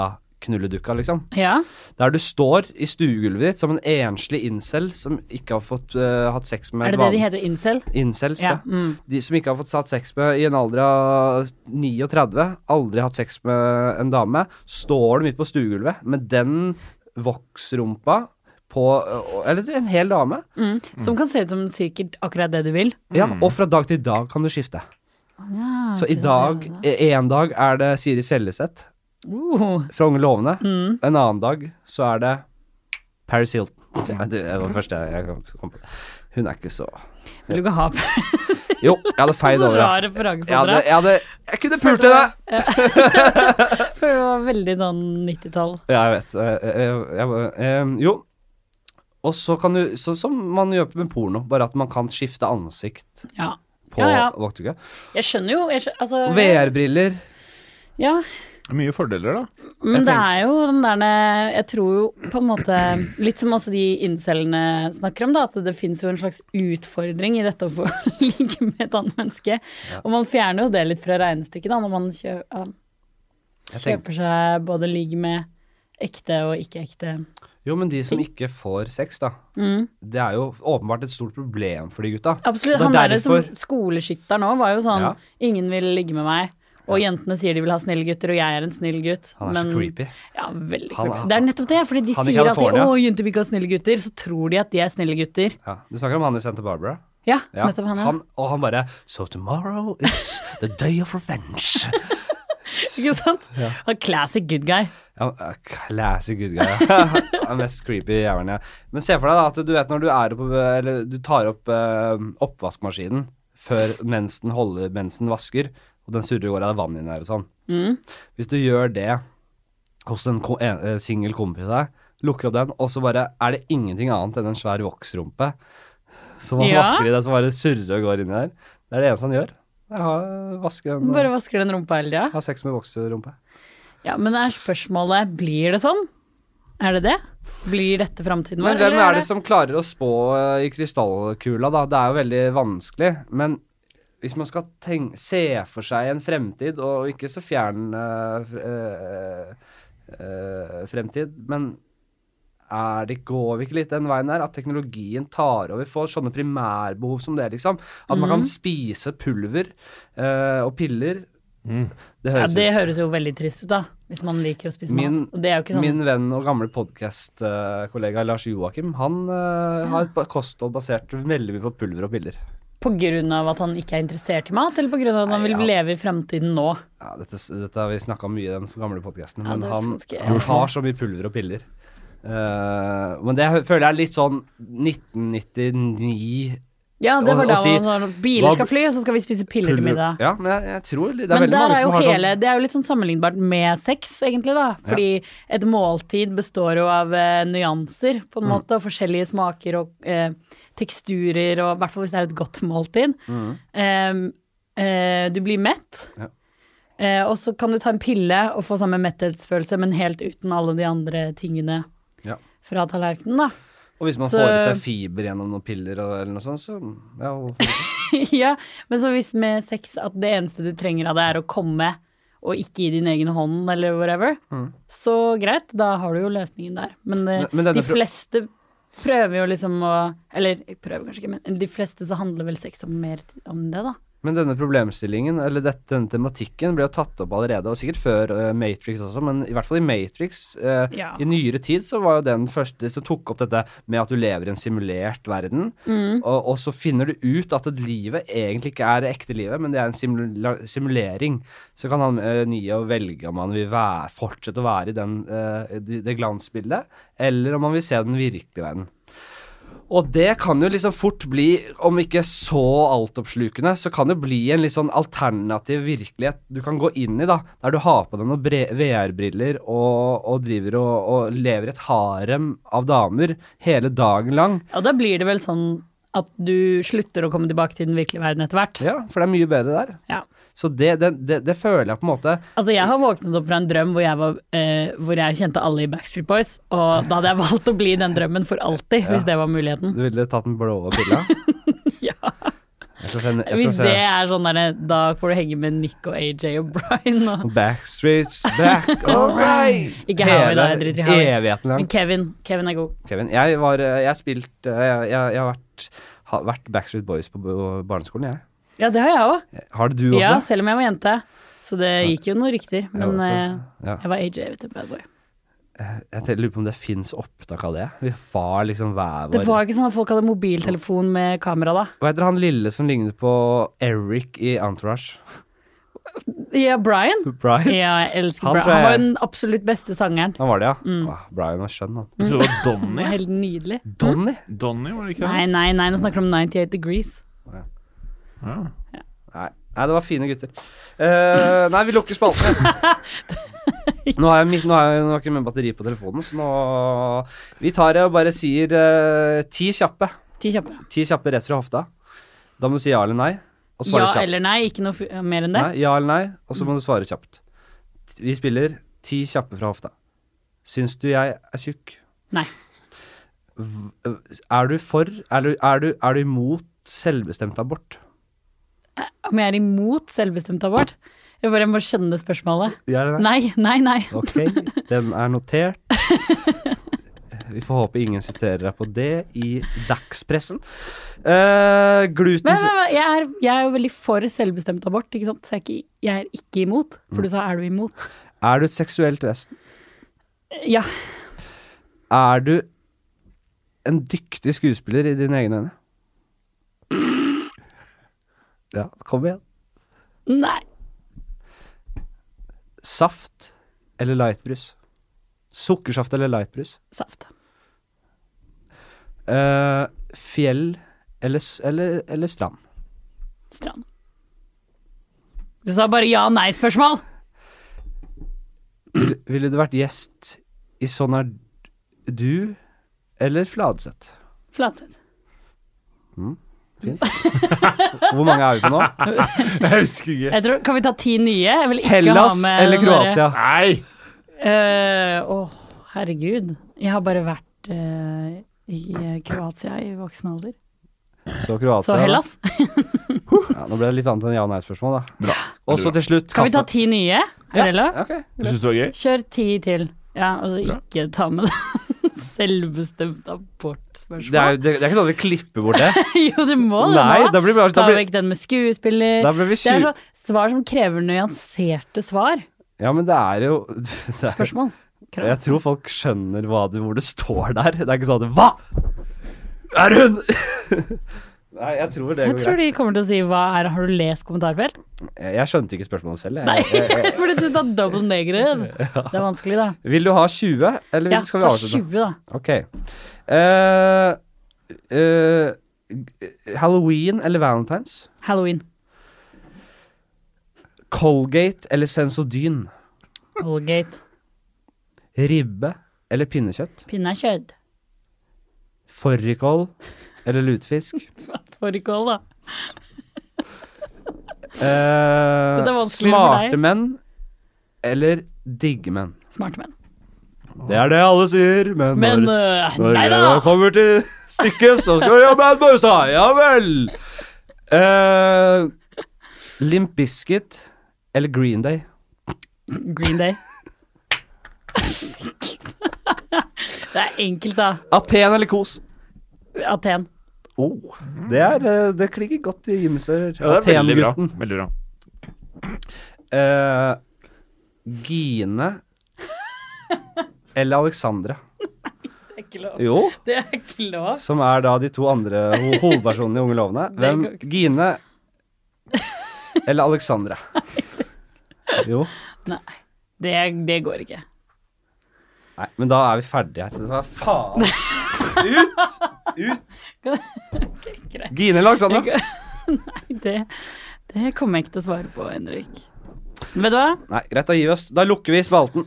S2: Tesla-knulledukka, liksom.
S4: Ja.
S2: Der du står i stuegulvet ditt som en enslig incel som ikke har fått eh, hatt sex med
S4: Er det det de heter? Incel?
S2: Incels, ja.
S4: Ja, mm.
S2: De som ikke har fått hatt sex med i en alder av 39, aldri hatt sex med en dame, står du midt på stuegulvet med den voksrumpa på eh, Eller en hel dame.
S4: Mm. Som kan se ut som sikkert akkurat det du vil.
S2: Ja, og fra dag til dag kan du skifte.
S4: Ja,
S2: Så i
S4: det-
S2: dag, e, en dag er det Siri Seljeseth
S4: Uh, Mm.
S2: fra Unge lovende. En annen dag så er det Paris
S4: <laughs>
S2: Hilton. Det var det første jeg kom- kom på. Hun er ikke så
S4: vil du ikke ha
S2: Jo, jeg hadde feid
S4: så
S2: over
S4: <laughs> rar
S2: henne.
S4: referanse?
S2: Jeg, hadde,
S4: Andrea?
S2: jeg, hadde, jeg kunne pult henne!
S4: For det var veldig sånn 90-tall.
S2: Ja, jeg vet. Jeg, jeg, jeg, eh, jo. Og så kan du så, Som man gjør med porno, bare at man kan skifte ansikt
S4: Ja.
S2: på
S4: Ja, ja.
S2: voktuka.
S4: Jeg skjønner jo jeg skjønner, altså,
S2: VR-briller.
S4: Ja,
S3: Mye fordeler, da.
S4: Men
S2: Jeg
S4: det
S2: tenker-
S4: er jo den derne Jeg tror jo på en måte Litt som også de incellene snakker om, da, at det fins jo en slags utfordring i dette å få <laughs> ligge med et annet menneske. Og man fjerner jo det litt fra regnestykket da, når man kjø ja,
S2: Jeg tenker,
S4: kjøper seg både ligg med ekte og ikke-ekte.
S2: jo, men de som ikke får sex, da. Det er jo åpenbart et stort problem for de gutta.
S4: Mm. Absolutt.
S2: Og
S4: Han
S2: det er
S4: derre som
S2: derfor-
S4: skoleskytter nå, var jo sånn
S2: Ja.
S4: Ingen vil ligge med meg. Og jentene sier de vil ha snille gutter, og jeg er en snill gutt.
S2: Han er så
S4: men-
S2: creepy.
S4: Ja, veldig
S2: Han-
S4: creepy. Det er nettopp det, fordi de
S2: Han i
S4: sier alltid
S2: California.
S4: 'Å, jenter vil ikke ha snille gutter', så tror de at de er snille gutter.
S2: Ja. Du snakker om han i Santa Barbara?
S4: Ja,
S2: Ja.
S4: nettopp han, ja.
S2: og han bare So tomorrow is the day of
S4: <laughs>
S2: revenge.
S4: Ikke sant? Han classic good guy.
S2: Ja, uh, classic good guy. <laughs> ja. Den mest creepy jævelen jeg Men se for deg da at du vet når du er oppe Eller du tar opp eh, oppvaskmaskinen før mens den, holder, mens den vasker, og den surrer i håret av vann inni der og sånn.
S4: Mm.
S2: Hvis du gjør det hos en, ko- en eh, singel kompis av deg, lukker opp den, og så bare er det ingenting annet enn en svær voksrumpe som han
S4: Ja.
S2: vasker i deg, som bare surrer og går inni der. Det er det eneste han gjør. Det er å vaske den,
S4: Bare vasker den rumpa hele tida.
S2: ha sex med voksrumpe.
S4: Ja, men er spørsmålet blir det sånn? Er det det? Blir dette framtiden vår?
S2: Men hvem
S4: eller
S2: er det som klarer å spå eh, i krystallkula, da? Det er jo veldig vanskelig. Men hvis man skal tenk se for seg en fremtid, og ikke så fjern eh, fr- eh, eh, fremtid, men er det, går vi ikke litt den veien der? At teknologien tar over for sånne primærbehov som det, liksom? At man
S4: Mhm.
S2: kan spise pulver eh, og piller. Det
S4: Ja,
S2: høres
S4: det
S2: ut
S4: høres jo veldig trist ut, da. Hvis man liker å spise
S2: Min,
S4: mat. Og det er jo ikke sånn.
S2: min venn og gamle podkastkollega Lars Joakim, han eh, har et ba- kosthold basert veldig mye på pulver og piller.
S4: På grunn av at han ikke er interessert i mat, eller på grunn av at han vil
S2: Nei, ja.
S4: leve i fremtiden nå?
S2: Ja, dette, s- dette har vi snakka mye i den gamle podkasten,
S4: Ja,
S2: men
S4: det er
S2: han,
S4: ganske-
S2: han har så mye pulver og piller. Eh, men det hø- føler jeg er litt sånn 1999
S4: Ja, det
S2: Og-
S4: var
S2: og
S4: da
S2: si-
S4: man var Biler
S2: hva-
S4: skal fly, og så skal vi spise piller til
S2: pulver-
S4: middag.
S2: Ja, men jeg, jeg tror det er
S4: Men
S2: veldig
S4: der
S2: mange
S4: er jo
S2: som har
S4: hele,
S2: sånn
S4: det er jo litt sånn sammenlignbart med sex, egentlig, da. Fordi et måltid består jo av eh, nyanser, på
S2: Mm.
S4: en måte, og forskjellige smaker og eh, teksturer, og i hvert fall hvis det er et godt måltid. Eh, eh, du blir mett,
S2: Mm. Ja.
S4: eh, og så kan du ta en pille og få samme metthetsfølelse, men helt uten alle de andre tingene
S2: Ja.
S4: fra tallerkenen, da.
S2: Og hvis man
S4: så-
S2: får i seg fiber gjennom noen piller og, eller noe sånt, så ja, hvorfor ikke?
S4: <laughs> ja, men så hvis med sex at det eneste du trenger av det er å komme, og ikke i din egen hånd eller whatever, så greit, da har du jo løsningen der. Men, det,
S2: Mm. Men- men denne
S4: de
S2: pro-
S4: fleste prøver jo liksom å Eller prøver kanskje ikke, men de fleste så handler vel sex om mer t- om det, da.
S2: Men denne problemstillingen, eller dette, denne tematikken, ble jo tatt opp allerede, og sikkert før eh, Matrix også, men i hvert fall i Matrix, eh,
S4: Ja.
S2: i nyere tid, så var jo den første som tok opp dette med at du lever i en simulert verden, og, og så finner du ut at et livet egentlig ikke er det ekte livet, men det er en simula simulering. Så kan han eh, nye velge om han vil være, fortsette å være i den, eh, det det glansbildet, eller om han vil se den virkelige verden. Og det kan jo liksom fort bli, om ikke så altoppslukende, så kan det bli en litt sånn alternativ virkelighet du kan gå inn i, da. Der du har på deg noen bre- VR-briller og, og driver og, og lever i et harem av damer hele dagen lang.
S4: Og da blir det vel sånn at du slutter å komme tilbake til den virkelige verden etter hvert.
S2: Ja, for det er mye bedre der.
S4: Ja.
S2: Så det, det, det, det føler jeg på en måte
S4: Altså, jeg har våknet opp fra en drøm hvor jeg, var, eh, hvor jeg kjente alle i Backstreet Boys, og da hadde jeg <laughs> valgt å bli i den drømmen for alltid, hvis det var muligheten.
S2: Du ville tatt den blå pilla?
S4: <laughs> Ja.
S2: Jeg skal sende, jeg skal
S4: Hvis
S2: se-
S4: det er sånn derre Da får du henge med Nick og AJ og Brian og
S2: Backstreets back, all right!
S4: Ikke Howie, da. Jeg
S2: Hele
S4: driter i Howie.
S2: Evigheten lang.
S4: Men Kevin. Kevin er god.
S2: Kevin. Jeg var eh, Jeg har spilt eh, Jeg, jeg, jeg har vært, har vært Backstreet Boys på b- barneskolen, jeg.
S4: Ja, det har jeg òg.
S2: Har det du også?
S4: Ja, selv om jeg var jente. Så det gikk jo noen rykter. Men
S2: også.
S4: eh,
S2: Ja.
S4: jeg var AJ, vet du. Bad boy.
S2: Jeg te- lurer på om det fins opptak av det. Vi var liksom hver
S4: Det
S2: vår
S4: var ikke sånn at folk hadde mobiltelefon med kamera da.
S2: Hva heter han lille som ligner på Eric i Entourage?
S4: Ja, Brian.
S2: <laughs> Brian?
S4: Ja, jeg elsker
S2: Han
S4: Brian.
S2: tror jeg-
S4: Han var jo den absolutt beste sangeren.
S2: Han var det, ja.
S4: Mm.
S2: Åh, Brian var skjønn, han.
S3: Jeg tror det var
S4: Han
S3: Donny.
S4: var helt nydelig.
S2: Donny!
S3: Donny, var det ikke
S4: Mm. Nei,
S3: det?
S4: nei, nei, nå snakker vi om 98 Degrees.
S3: Ja.
S2: Nei. Nei, det var fine gutter. Eh, nei, vi lukker
S4: <laughs>
S2: spalten. Nå har jeg, mitt- nå har jeg nå har jeg ikke mer batteri på telefonen, så nå Vi tar det og bare sier eh, ti kjappe.
S4: Ti kjappe.
S2: Ti kjappe rett fra hofta. Da må du si ja eller nei, og svare
S4: Ja
S2: kjapt.
S4: eller nei, ikke noe f- mer enn det.
S2: nei, ja eller nei, og så må du svare kjapt. Vi spiller ti kjappe fra hofta. Syns du jeg er tjukk?
S4: Nei.
S2: Er du for Er du, er du, er du imot selvbestemt abort?
S4: Om jeg er imot selvbestemt abort? Jeg bare må skjønne spørsmålet.
S2: Ja eller
S4: Nei, nei, nei.
S2: Ok, den er
S4: <laughs>
S2: notert. Vi får håpe ingen siterer deg på det i dagspressen. Eh, gluten
S4: Men, men, men jeg, er, jeg er jo veldig for selvbestemt abort, ikke sant? så jeg er ikke, jeg er ikke imot. For du sa er du imot?
S2: Er du et seksuelt vesen?
S4: Ja.
S2: Er du en dyktig skuespiller i dine egne øyne? Ja, kom igjen.
S4: Nei.
S2: Saft eller lightbrus? Sukkersaft eller lightbrus?
S4: Saft.
S2: Eh, fjell eller, s- eller, eller strand?
S4: Strand. Du sa bare ja-nei-spørsmål.
S2: Ville du vært gjest i Sånn er du eller Fladseth?
S4: Flatseth.
S2: Hvor mange er vi
S4: <laughs>
S2: på nå?
S3: Jeg husker ikke.
S4: Jeg tror, kan vi ta ti nye? Jeg vil ikke
S2: Hellas
S4: ha med
S2: eller
S4: den derre-
S2: Kroatia?
S3: Nei!
S4: Eh, Åh, herregud. Jeg har bare vært eh, i eh, Kroatia i voksen alder.
S2: Så Kroatia.
S4: Så Hellas.
S2: Ja, nå ble det litt annet enn ja- og nei-spørsmål, da.
S3: Bra.
S2: Og så til slutt
S4: Kan vi ta
S2: kaffe-
S4: ti nye? Er det lov?
S2: Ja, ok.
S3: Du syns det var gøy?
S4: Kjør ti til. Ja, og så
S3: Bra.
S4: ikke ta med det <laughs> selvbestemt
S2: Det er,
S4: abortspørsmål.
S2: jo- det, det er ikke sånn at vi klipper bort det.
S4: <laughs> Jo, du må det
S2: Nei,
S4: nå.
S2: da blir vi bare
S4: Ta
S2: da blir,
S4: vekk den med skuespiller.
S2: da blir vi
S4: Det er
S2: sur.
S4: så svar som krever nyanserte svar.
S2: Ja, men det er jo <laughs> det er,
S4: Spørsmål. Krav.
S2: Jeg tror folk skjønner hva det, hvor det står der. Det er ikke sånn at Hva?! Er hun?! <laughs> Nei, jeg tror det
S4: Jeg
S2: går
S4: tror
S2: greit.
S4: de kommer til å si hva er det, har du lest kommentarfelt? <laughs>
S2: Jeg, jeg skjønte ikke spørsmålet selv. Jeg,
S4: Nei,
S2: jeg, jeg,
S4: fordi du tar double
S2: <laughs>
S4: negative. Det er vanskelig, da.
S2: vil du ha 20, eller
S4: Ja,
S2: skal vi
S4: ta
S2: avslutte?
S4: 20, da.
S2: Ok. Eh, eh, Halloween eller Valentines?
S4: Halloween.
S2: Colgate eller Sensodyne?
S4: Holgate.
S2: Ribbe eller pinnekjøtt?
S4: Pinnekjøtt.
S2: Fårikål eller lutefisk?
S4: Fårikål, da.
S2: Eh,
S4: Dette er vanskeligere for deg.
S2: smarte menn eller digge menn?
S4: Smarte menn.
S2: Det er det alle sier, men,
S4: Men
S2: når,
S4: øh,
S2: når
S4: nei da!
S2: det kommer til stykket, så skal jeg ha med bussa! Ja vel! Uh, Limp Bizkit eller Green Day?
S4: Green Day. det er enkelt, da.
S2: Aten eller Kos?
S4: Aten.
S2: Oh, det, er, eh, det klinger godt i gymser.
S3: Ja, det er veldig bra. Veldig bra.
S2: Eh,
S4: <laughs>
S2: Gine eller Alexandra.
S4: Det er ikke lov.
S2: Jo,
S4: Det er ikke lov.
S2: som er da de to andre ho hovedpersonene i Unge lovende. Hvem
S4: går ikke.
S2: Gine eller
S4: <laughs>
S2: Alexandra? Jo.
S4: Det, det går ikke.
S2: Nei, men da er vi ferdige her. Hva faen? Ut! Ut!
S4: greit.
S2: Gine eller Alexandra?
S4: Det, det kommer jeg ikke til å svare på, Henrik. Vet du hva?
S2: Nei, greit, da gir vi oss. Da lukker vi spalten.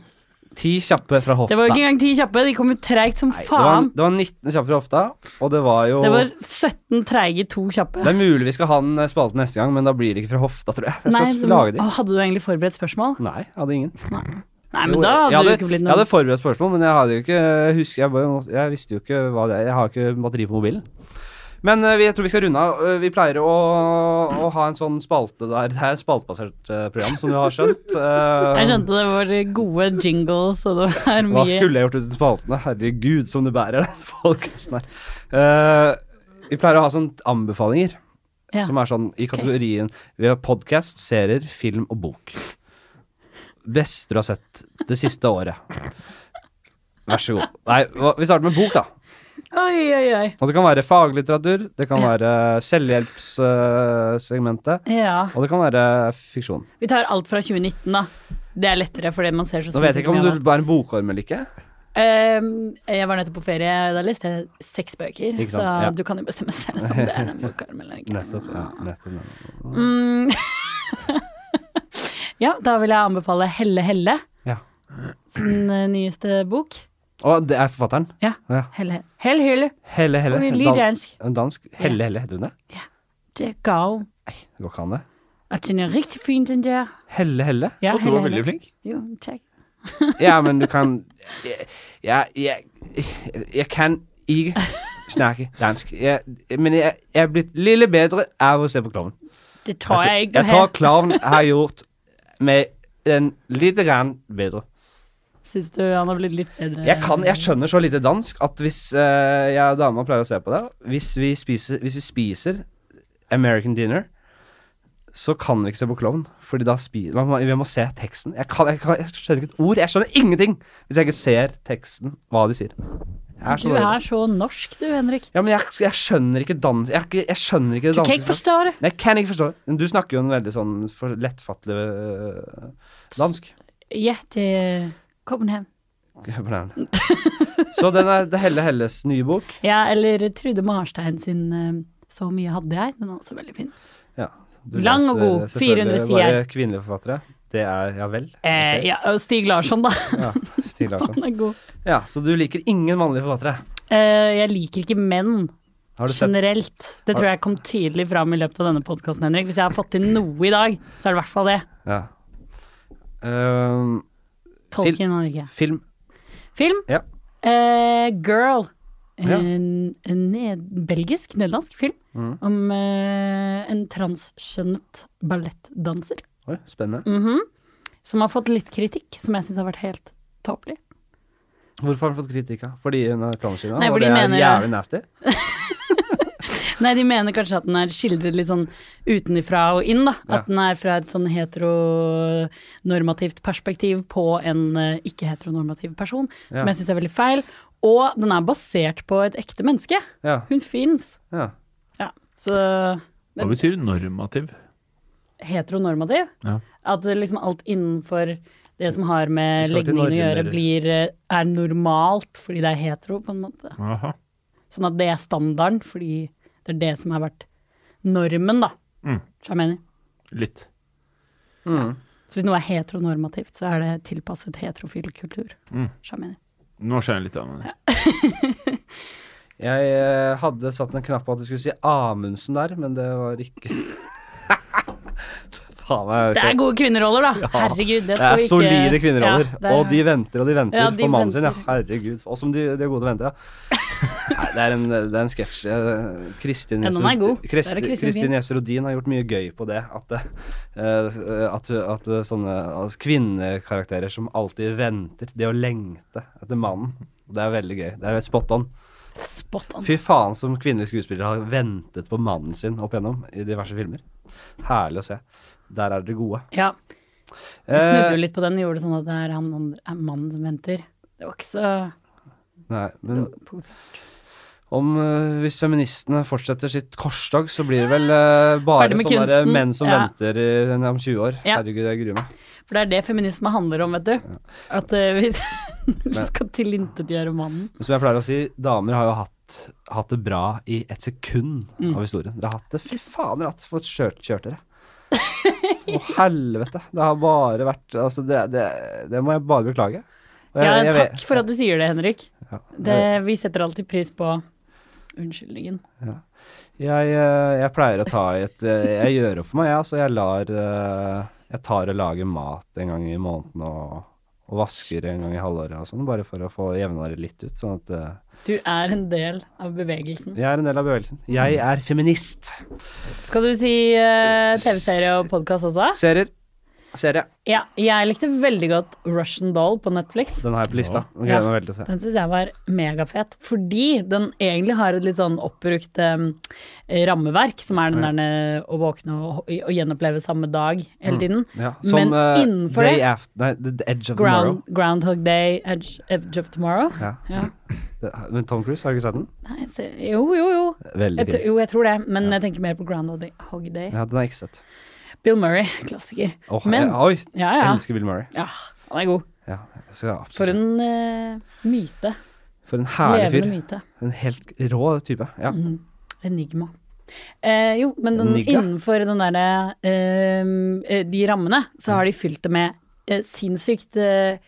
S2: Ti kjappe fra hofta.
S4: Det var jo ikke engang ti kjappe. De kom jo treigt som
S2: Nei, det var,
S4: faen.
S2: det var 19 kjappe fra hofta, og det var jo
S4: Det var 17 treige, to kjappe.
S2: Det er mulig vi skal ha den eh, spalten neste gang, men da blir det ikke fra hofta, tror jeg. Jeg skal
S4: du-
S2: lage de.
S4: Å, hadde du egentlig forberedt spørsmål?
S2: Nei, jeg hadde ingen.
S4: Nei, men
S2: Jo, jeg
S4: da hadde det jo
S2: hadde-
S4: ikke blitt
S2: Jeg
S4: noe.
S2: hadde forberedt spørsmål, men jeg hadde jo ikke jeg husker, jeg, bare, må- jeg visste jo ikke hva det er. Jeg har ikke batteri på mobilen. Men eh, vi- jeg tror vi skal runde av. Eh, Vi pleier å, å ha en sånn spalte der. Det er et spaltebasert eh, program, som du har skjønt.
S4: <laughs>
S2: Eh,
S4: Jeg skjønte det var gode jingles, og det var
S2: Hva
S4: mye
S2: skulle jeg gjort uten spaltene? Herregud, som du bærer den <laughs> podkasten her. Eh, vi pleier å ha sånn anbefalinger,
S4: Ja.
S2: som er sånn i kategorien Vi har podkast, serier, film og bok. Beste du har sett det siste året. Vær så god. Nei, hva- vi starter med bok, da.
S4: Oi, oi, oi.
S2: Og det kan være faglitteratur, det kan
S4: Ja.
S2: være eh, selvhjelpssegmentet,
S4: Ja.
S2: og det kan være fiksjon.
S4: Vi tar alt fra 2019, da. Det er lettere, fordi man ser så
S2: Nå vet jeg
S4: sinnssykt
S2: ikke om du
S4: mye av alt.
S2: er en bokorm eller ikke.
S4: Ehm, jeg var nettopp på ferie, da leste jeg seks bøker.
S2: Ikke
S4: Så
S2: sant, ja.
S4: du kan jo bestemme selv om det er en bokarm eller ikke.
S2: Nettopp. Ja, nettopp, nettopp.
S4: Mm. <laughs> ja, da vil jeg anbefale Helle Helle
S2: Ja.
S4: sin eh, nyeste bok.
S2: Og det er forfatteren.
S4: Ja.
S2: Ja.
S4: Helle Helle. Helle.
S2: Helle, Helle.
S4: Og en
S2: Dan-
S4: lydansk.
S2: en dansk. Helle, Helle, heter hun det?
S4: Det
S2: Det går
S4: går
S2: ikke an, det.
S4: at den er riktig fin, den der.
S2: Helle, Helle?
S4: Ja,
S3: Og du var veldig flink.
S4: Jo, takk.
S2: Ja, men du kan Jeg, jeg, jeg, jeg kan ikke snakke dansk. Jeg, men jeg, jeg er blitt lille bedre av å se på Klovn.
S4: Det tror jeg ikke du
S2: Jeg tror
S4: har.
S2: Klovn har gjort meg en lite grann bedre.
S4: Syns du han har blitt litt bedre?
S2: Jeg, kan, jeg skjønner så lite dansk at hvis eh, jeg og dama pleier å se på det Hvis vi spiser, hvis vi spiser American dinner, så kan vi ikke se på klovn. Fordi da spiser man, må- Vi må se teksten. Jeg, kan, jeg, kan, jeg skjønner ikke et ord. Jeg skjønner ingenting hvis jeg ikke ser teksten, hva de sier. Jeg er
S4: Du
S2: så dårlig.
S4: er så norsk, du, Henrik.
S2: Ja, men jeg, jeg skjønner ikke dans... Jeg, er ikke- jeg skjønner ikke det
S4: Du kan ikke
S2: danske språket.
S4: forstå det.
S2: Nei, Jeg kan ikke forstå det. Men Du snakker jo en veldig sånn for lettfattelig øh, dansk.
S4: Ja, eh, det København. <laughs>
S2: Imponerende. Så den er det er Helle Helles nye bok.
S4: Ja, eller Trude Marstein sin eh, 'Så mye hadde jeg'. Den er også veldig fin.
S2: Ja. Du
S4: Lang og
S2: leser
S4: god,
S2: selvfølgelig Bare
S4: 400 sider.
S2: kvinnelige forfattere. Det er Ja vel.
S4: Eh,
S2: ok.
S4: ja, og Stig <laughs> Larsson, da.
S2: Ja, Stig Larsson.
S4: <laughs> Han er god.
S2: Ja, så du liker ingen mannlige forfattere?
S4: Eh, jeg liker ikke menn
S2: Har du sett
S4: generelt. Det tror jeg kom tydelig fram i løpet av denne podkasten, Henrik. Hvis jeg har fått til noe i dag, så er det i hvert fall det.
S2: Ja. Ehm,
S4: Tolkien har ikke.
S2: film
S4: Film?
S2: Ja.
S4: Eh, Girl.
S2: Ja. Mm.
S4: En, en ned- belgisk, nederlandsk film om eh, en transkjønnet ballettdanser.
S2: Oi, spennende.
S4: Mhm. Som har fått litt kritikk, som jeg syns har vært helt tåpelig.
S2: Hvorfor har hun fått kritikk? da? Fordi hun er transkina?
S4: Nei,
S2: og
S4: fordi
S2: det er
S4: mener jeg-
S2: jævlig nasty?
S4: Nei, de mener kanskje at den er skildret litt sånn utenifra og inn, da.
S2: Ja.
S4: At den er fra et sånn heteronormativt perspektiv på en eh, ikke-heteronormativ person,
S2: Ja.
S4: som jeg syns er veldig feil. Og den er basert på et ekte menneske.
S2: Ja.
S4: Hun fins.
S2: ja.
S4: Ja. Så eh,
S3: Hva betyr normativ?
S4: heteronormativ.
S3: Ja.
S4: At det liksom alt innenfor det som har
S2: Vi
S4: med
S2: skal til
S4: legningen å gjøre,
S2: normer.
S4: blir, eh, er normalt fordi det er hetero, på en måte.
S3: Aha.
S4: Sånn at det er standarden, fordi det er det som har vært normen, da.
S3: Mm.
S4: Så jeg mener.
S3: Litt.
S2: Mm.
S4: Så hvis noe er heteronormativt, så er det tilpasset heterofil kultur.
S3: Mm.
S4: Så jeg mener.
S3: Nå skjønner jeg litt av det.
S2: Jeg eh, hadde satt en knapp på at du skulle si Amundsen der, men det var ikke <laughs> Faen meg
S4: Det er gode kvinneroller, da!
S2: Ja,
S4: Herregud, det
S2: det
S4: skal
S2: er
S4: vi ikke
S2: solide kvinneroller.
S4: Ja, det er-
S2: Og de venter og de venter
S4: Ja, de
S2: på mannen sin, ja.
S4: venter.
S2: Herregud. Og som de, de er gode til å
S4: <laughs>
S2: vente, ja. Nei, det er en, det er en sketsj. eh, Kristin
S4: Ja, den er
S2: Gjesser-
S4: god.
S2: Krist-
S4: Der er Kristin
S2: Kristin
S4: fin.
S2: Gjesserudin har gjort mye gøy på det. At, det, eh, at, at eh, sånne altså, kvinnekarakterer som alltid venter, det å lengte etter mannen, det er veldig gøy. Det er spot on.
S4: Spot on.
S2: Fy faen som kvinnelige skuespillere har ventet på mannen sin opp igjennom i diverse filmer. Herlig å se. Der er dere gode.
S4: Ja. Jeg snudde
S2: Eh,
S4: jo litt på den og gjorde det sånn at det er han andre- er mannen som venter. Det var ikke så
S2: nei, men om, eh, hvis feministene fortsetter sitt korstog, så blir det vel eh, bare
S4: Ferdig med
S2: sånne der
S4: kunsten.
S2: menn som
S4: Ja.
S2: venter i, om 20 år.
S4: Ja.
S2: Herregud, jeg gruer meg.
S4: For det er det feminisme handler om, vet du. At eh, vi <laughs> vi
S2: Men-
S4: skal tilintetgjøre mannen.
S2: Men Som jeg pleier å si, damer har jo hatt, hatt det bra i et sekund
S4: Mm.
S2: av historien. Dere har hatt det Fy faen, dere har hatt fått kjørt, kjørt dere. Å, helvete. Det har bare vært Altså, det, det, det må jeg bare beklage. Og jeg-
S4: Ja,
S2: jeg vet-
S4: takk for at du sier det, Henrik.
S2: Ja.
S4: Det, vi setter alltid pris på unnskyldningen.
S2: Jeg, eh, jeg pleier å ta i et eh, Jeg gjør opp for meg, jeg. altså jeg lar eh, Jeg tar og lager mat en gang i måneden og, og vasker en gang i halvåret og sånn, bare for å få jevna det litt ut. Sånn at eh,
S4: Du er en del av bevegelsen.
S2: Jeg er en del av bevegelsen. Jeg er feminist.
S4: Skal du si eh, TV-serie og podkast også?
S2: Serier. Serie.
S4: Ja. Jeg likte veldig godt Russian Doll på Netflix.
S2: Den har jeg på lista. Den
S4: Ja.
S2: gleder jeg meg veldig til å se.
S4: Den syns jeg var megafet, fordi den egentlig har et litt sånn oppbrukt eh, rammeverk, som er den der eh, å våkne og, og gjenoppleve samme dag hele tiden.
S2: Mm. Ja, som
S4: Men
S2: eh,
S4: innenfor
S2: Day
S4: det-
S2: After, nei, The The Edge of
S4: Ground, Groundhog Day, Edge, Edge of Tomorrow.
S2: Tomorrow. Ja.
S4: Ja.
S2: Det- Men Tom Cruise, har du ikke sett den?
S4: Nei, jeg ser- jo, jo, jo.
S2: Veldig
S4: Jeg, tr-
S2: fin.
S4: jo, jeg tror det, men jeg tenker mer på Groundhog Day- Hog Day.
S2: Ja, den har jeg ikke sett.
S4: Bill Murray, klassiker.
S2: Åh,
S4: Men-
S2: jeg, oi,
S4: Ja,
S2: jeg
S4: ja.
S2: elsker Bill Murray.
S4: ja. Han er god.
S2: Ja, jeg skal absolutt
S4: For
S2: se.
S4: en eh, myte.
S2: for en herlig fyr.
S4: Levende Mm. myte.
S2: En helt rå type. Ja.
S4: Enigma. Eh, jo, men den,
S2: Enigma?
S4: innenfor den derre eh, eh, de rammene, så har de fylt det med eh, sinnssykt eh,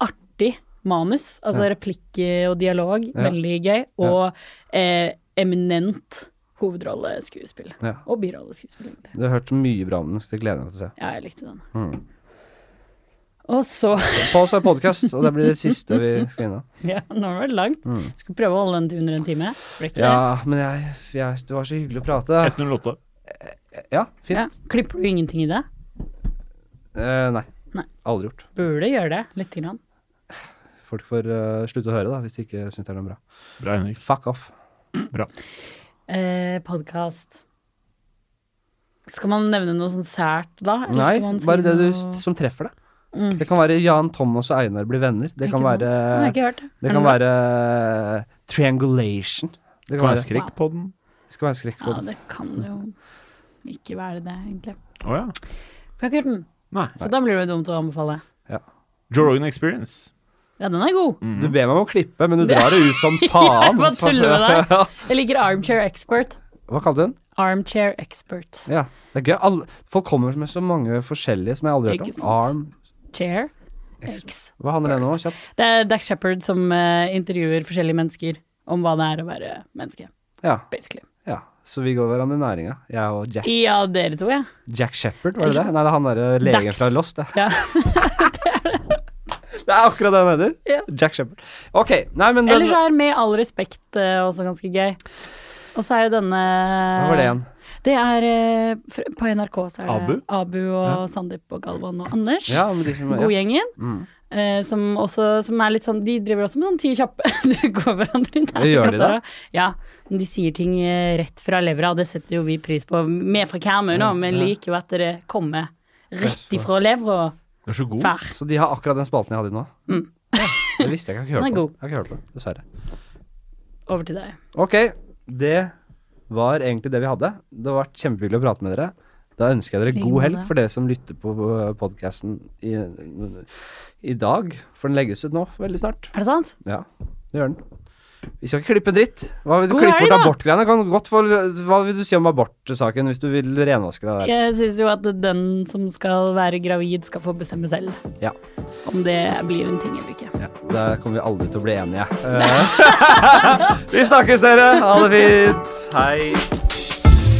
S4: artig manus. Altså replikk og dialog, veldig gøy. Og eh, eminent hovedrolleskuespill.
S2: Ja.
S4: Og birolleskuespill, egentlig.
S2: Du har hørt mye bra om den, så det gleder jeg meg til å se.
S4: Ja, jeg likte den.
S2: Mm.
S4: Og så <laughs>
S2: På oss er podkast, og det blir det siste vi skal innom.
S4: Ja, nå var det langt. Skulle prøve å holde den til under en time. Ble
S2: <laughs> Mm.
S4: ikke det?
S2: Ja, men jeg, jeg Det var så hyggelig å prate.
S3: 108.
S2: Ja, fint.
S4: Ja. Klipper du ingenting i det?
S2: Eh, nei.
S4: Nei.
S2: Aldri gjort.
S4: Burde gjøre det, lite grann.
S2: Folk får eh, slutte å høre, da, hvis de ikke syns det er noe bra.
S3: Bra, Henrik.
S2: Fuck off.
S3: Bra.
S4: Eh, Podkast. Skal man nevne noe sånn sært da? eller
S2: Nei,
S4: skal man si
S2: bare det du
S4: noe-
S2: som treffer deg. Det kan være Jan Thomas og Einar blir venner. Det
S4: Mm. Ikke
S2: kan
S4: sant?
S2: være
S4: Den har jeg ikke hørt. Er
S2: Det
S4: den
S2: kan
S4: bra?
S2: være eh, triangulation. Det kan være
S3: skrekk på den.
S2: Det skal være skrekk
S4: Ja,
S2: for det.
S4: det kan jo ikke være det, egentlig.
S3: Å ja.
S4: For jeg har ikke hørt den,
S3: Nei.
S4: så da blir det jo dumt å anbefale.
S3: Joe Rogan Experience.
S4: Ja, den er god. <laughs>
S2: Du ber meg om å klippe, men du drar det ut som faen. <laughs>
S4: Hva tuller du med deg? Jeg liker Armchair Expert.
S2: Hva kalte du den?
S4: Armchair expert.
S2: Ja, det er gøy. Alle, folk kommer med så mange forskjellige som jeg aldri har
S4: Ikke
S2: hørt
S4: sant?
S2: om. Arm
S4: Chair. Ex.
S2: Hva handler det nå? Kjapt.
S4: Det er Dax Shepherd som eh, intervjuer forskjellige mennesker om hva det er å være menneske,
S2: Ja,
S4: basically.
S2: ja. Så vi går hverandre i næringa. Jeg og Jack,
S4: Ja, dere to, ja.
S2: Jack Shepherd, var det det? Nei, det er han derre legen
S4: Dax.
S2: fra Lost. Det.
S4: ja.
S2: <laughs> det er akkurat det han heter.
S4: Ja.
S2: Jack Shepherd. Ok, nei, men den,
S4: Ellers er Med all respekt eh, også ganske gøy. Og så er jo denne
S2: Hva var det igjen?
S4: Det er eh, fr- på NRK så er
S3: Abu?
S4: det Abu og Sandeep og Galvan og Anders.
S2: Ja, men de som, ja. Mm.
S4: Godgjengen. Eh, som også som er litt sånn De driver også med sånn ti kjappe. <laughs> Dere går hverandre i
S2: gjør de
S4: der,
S2: da?
S4: Ja. Men de sier ting eh, rett fra levra, og det setter jo vi pris på. Med fra Karmøy nå, men liker jo at dere kommer rett ifra levra og
S3: Du er så
S2: Oh.
S3: god.
S4: fær.
S2: Så de har akkurat den spalten jeg hadde nå? Ja, det visste jeg ikke. Jeg har ikke
S4: Mm. <laughs> Den er
S2: hørt på.
S4: god.
S2: Jeg har ikke hørt på, det, dessverre.
S4: Over til deg.
S2: Ok, det var egentlig det vi hadde. Det har vært kjempehyggelig å prate med dere. Da ønsker jeg dere
S4: Like
S2: god
S4: måte.
S2: helg for dere som lytter på podkasten i, i dag. For den legges ut nå veldig snart.
S4: Er det sant?
S2: Ja, det gjør den. Vi skal ikke klippe en dritt. Hva vil du
S4: God
S2: klippe
S4: helg,
S2: bort
S4: da!
S2: abortgreiene? Kan godt få- Hva vil du si om abortsaken, hvis du vil renvaske deg der?
S4: Jeg syns jo at den som skal være gravid, skal få bestemme selv
S2: Ja.
S4: om det blir en ting eller ikke.
S2: Der kommer vi aldri til å bli enige. Eh, <laughs> vi snakkes, dere. Ha det fint. Hei.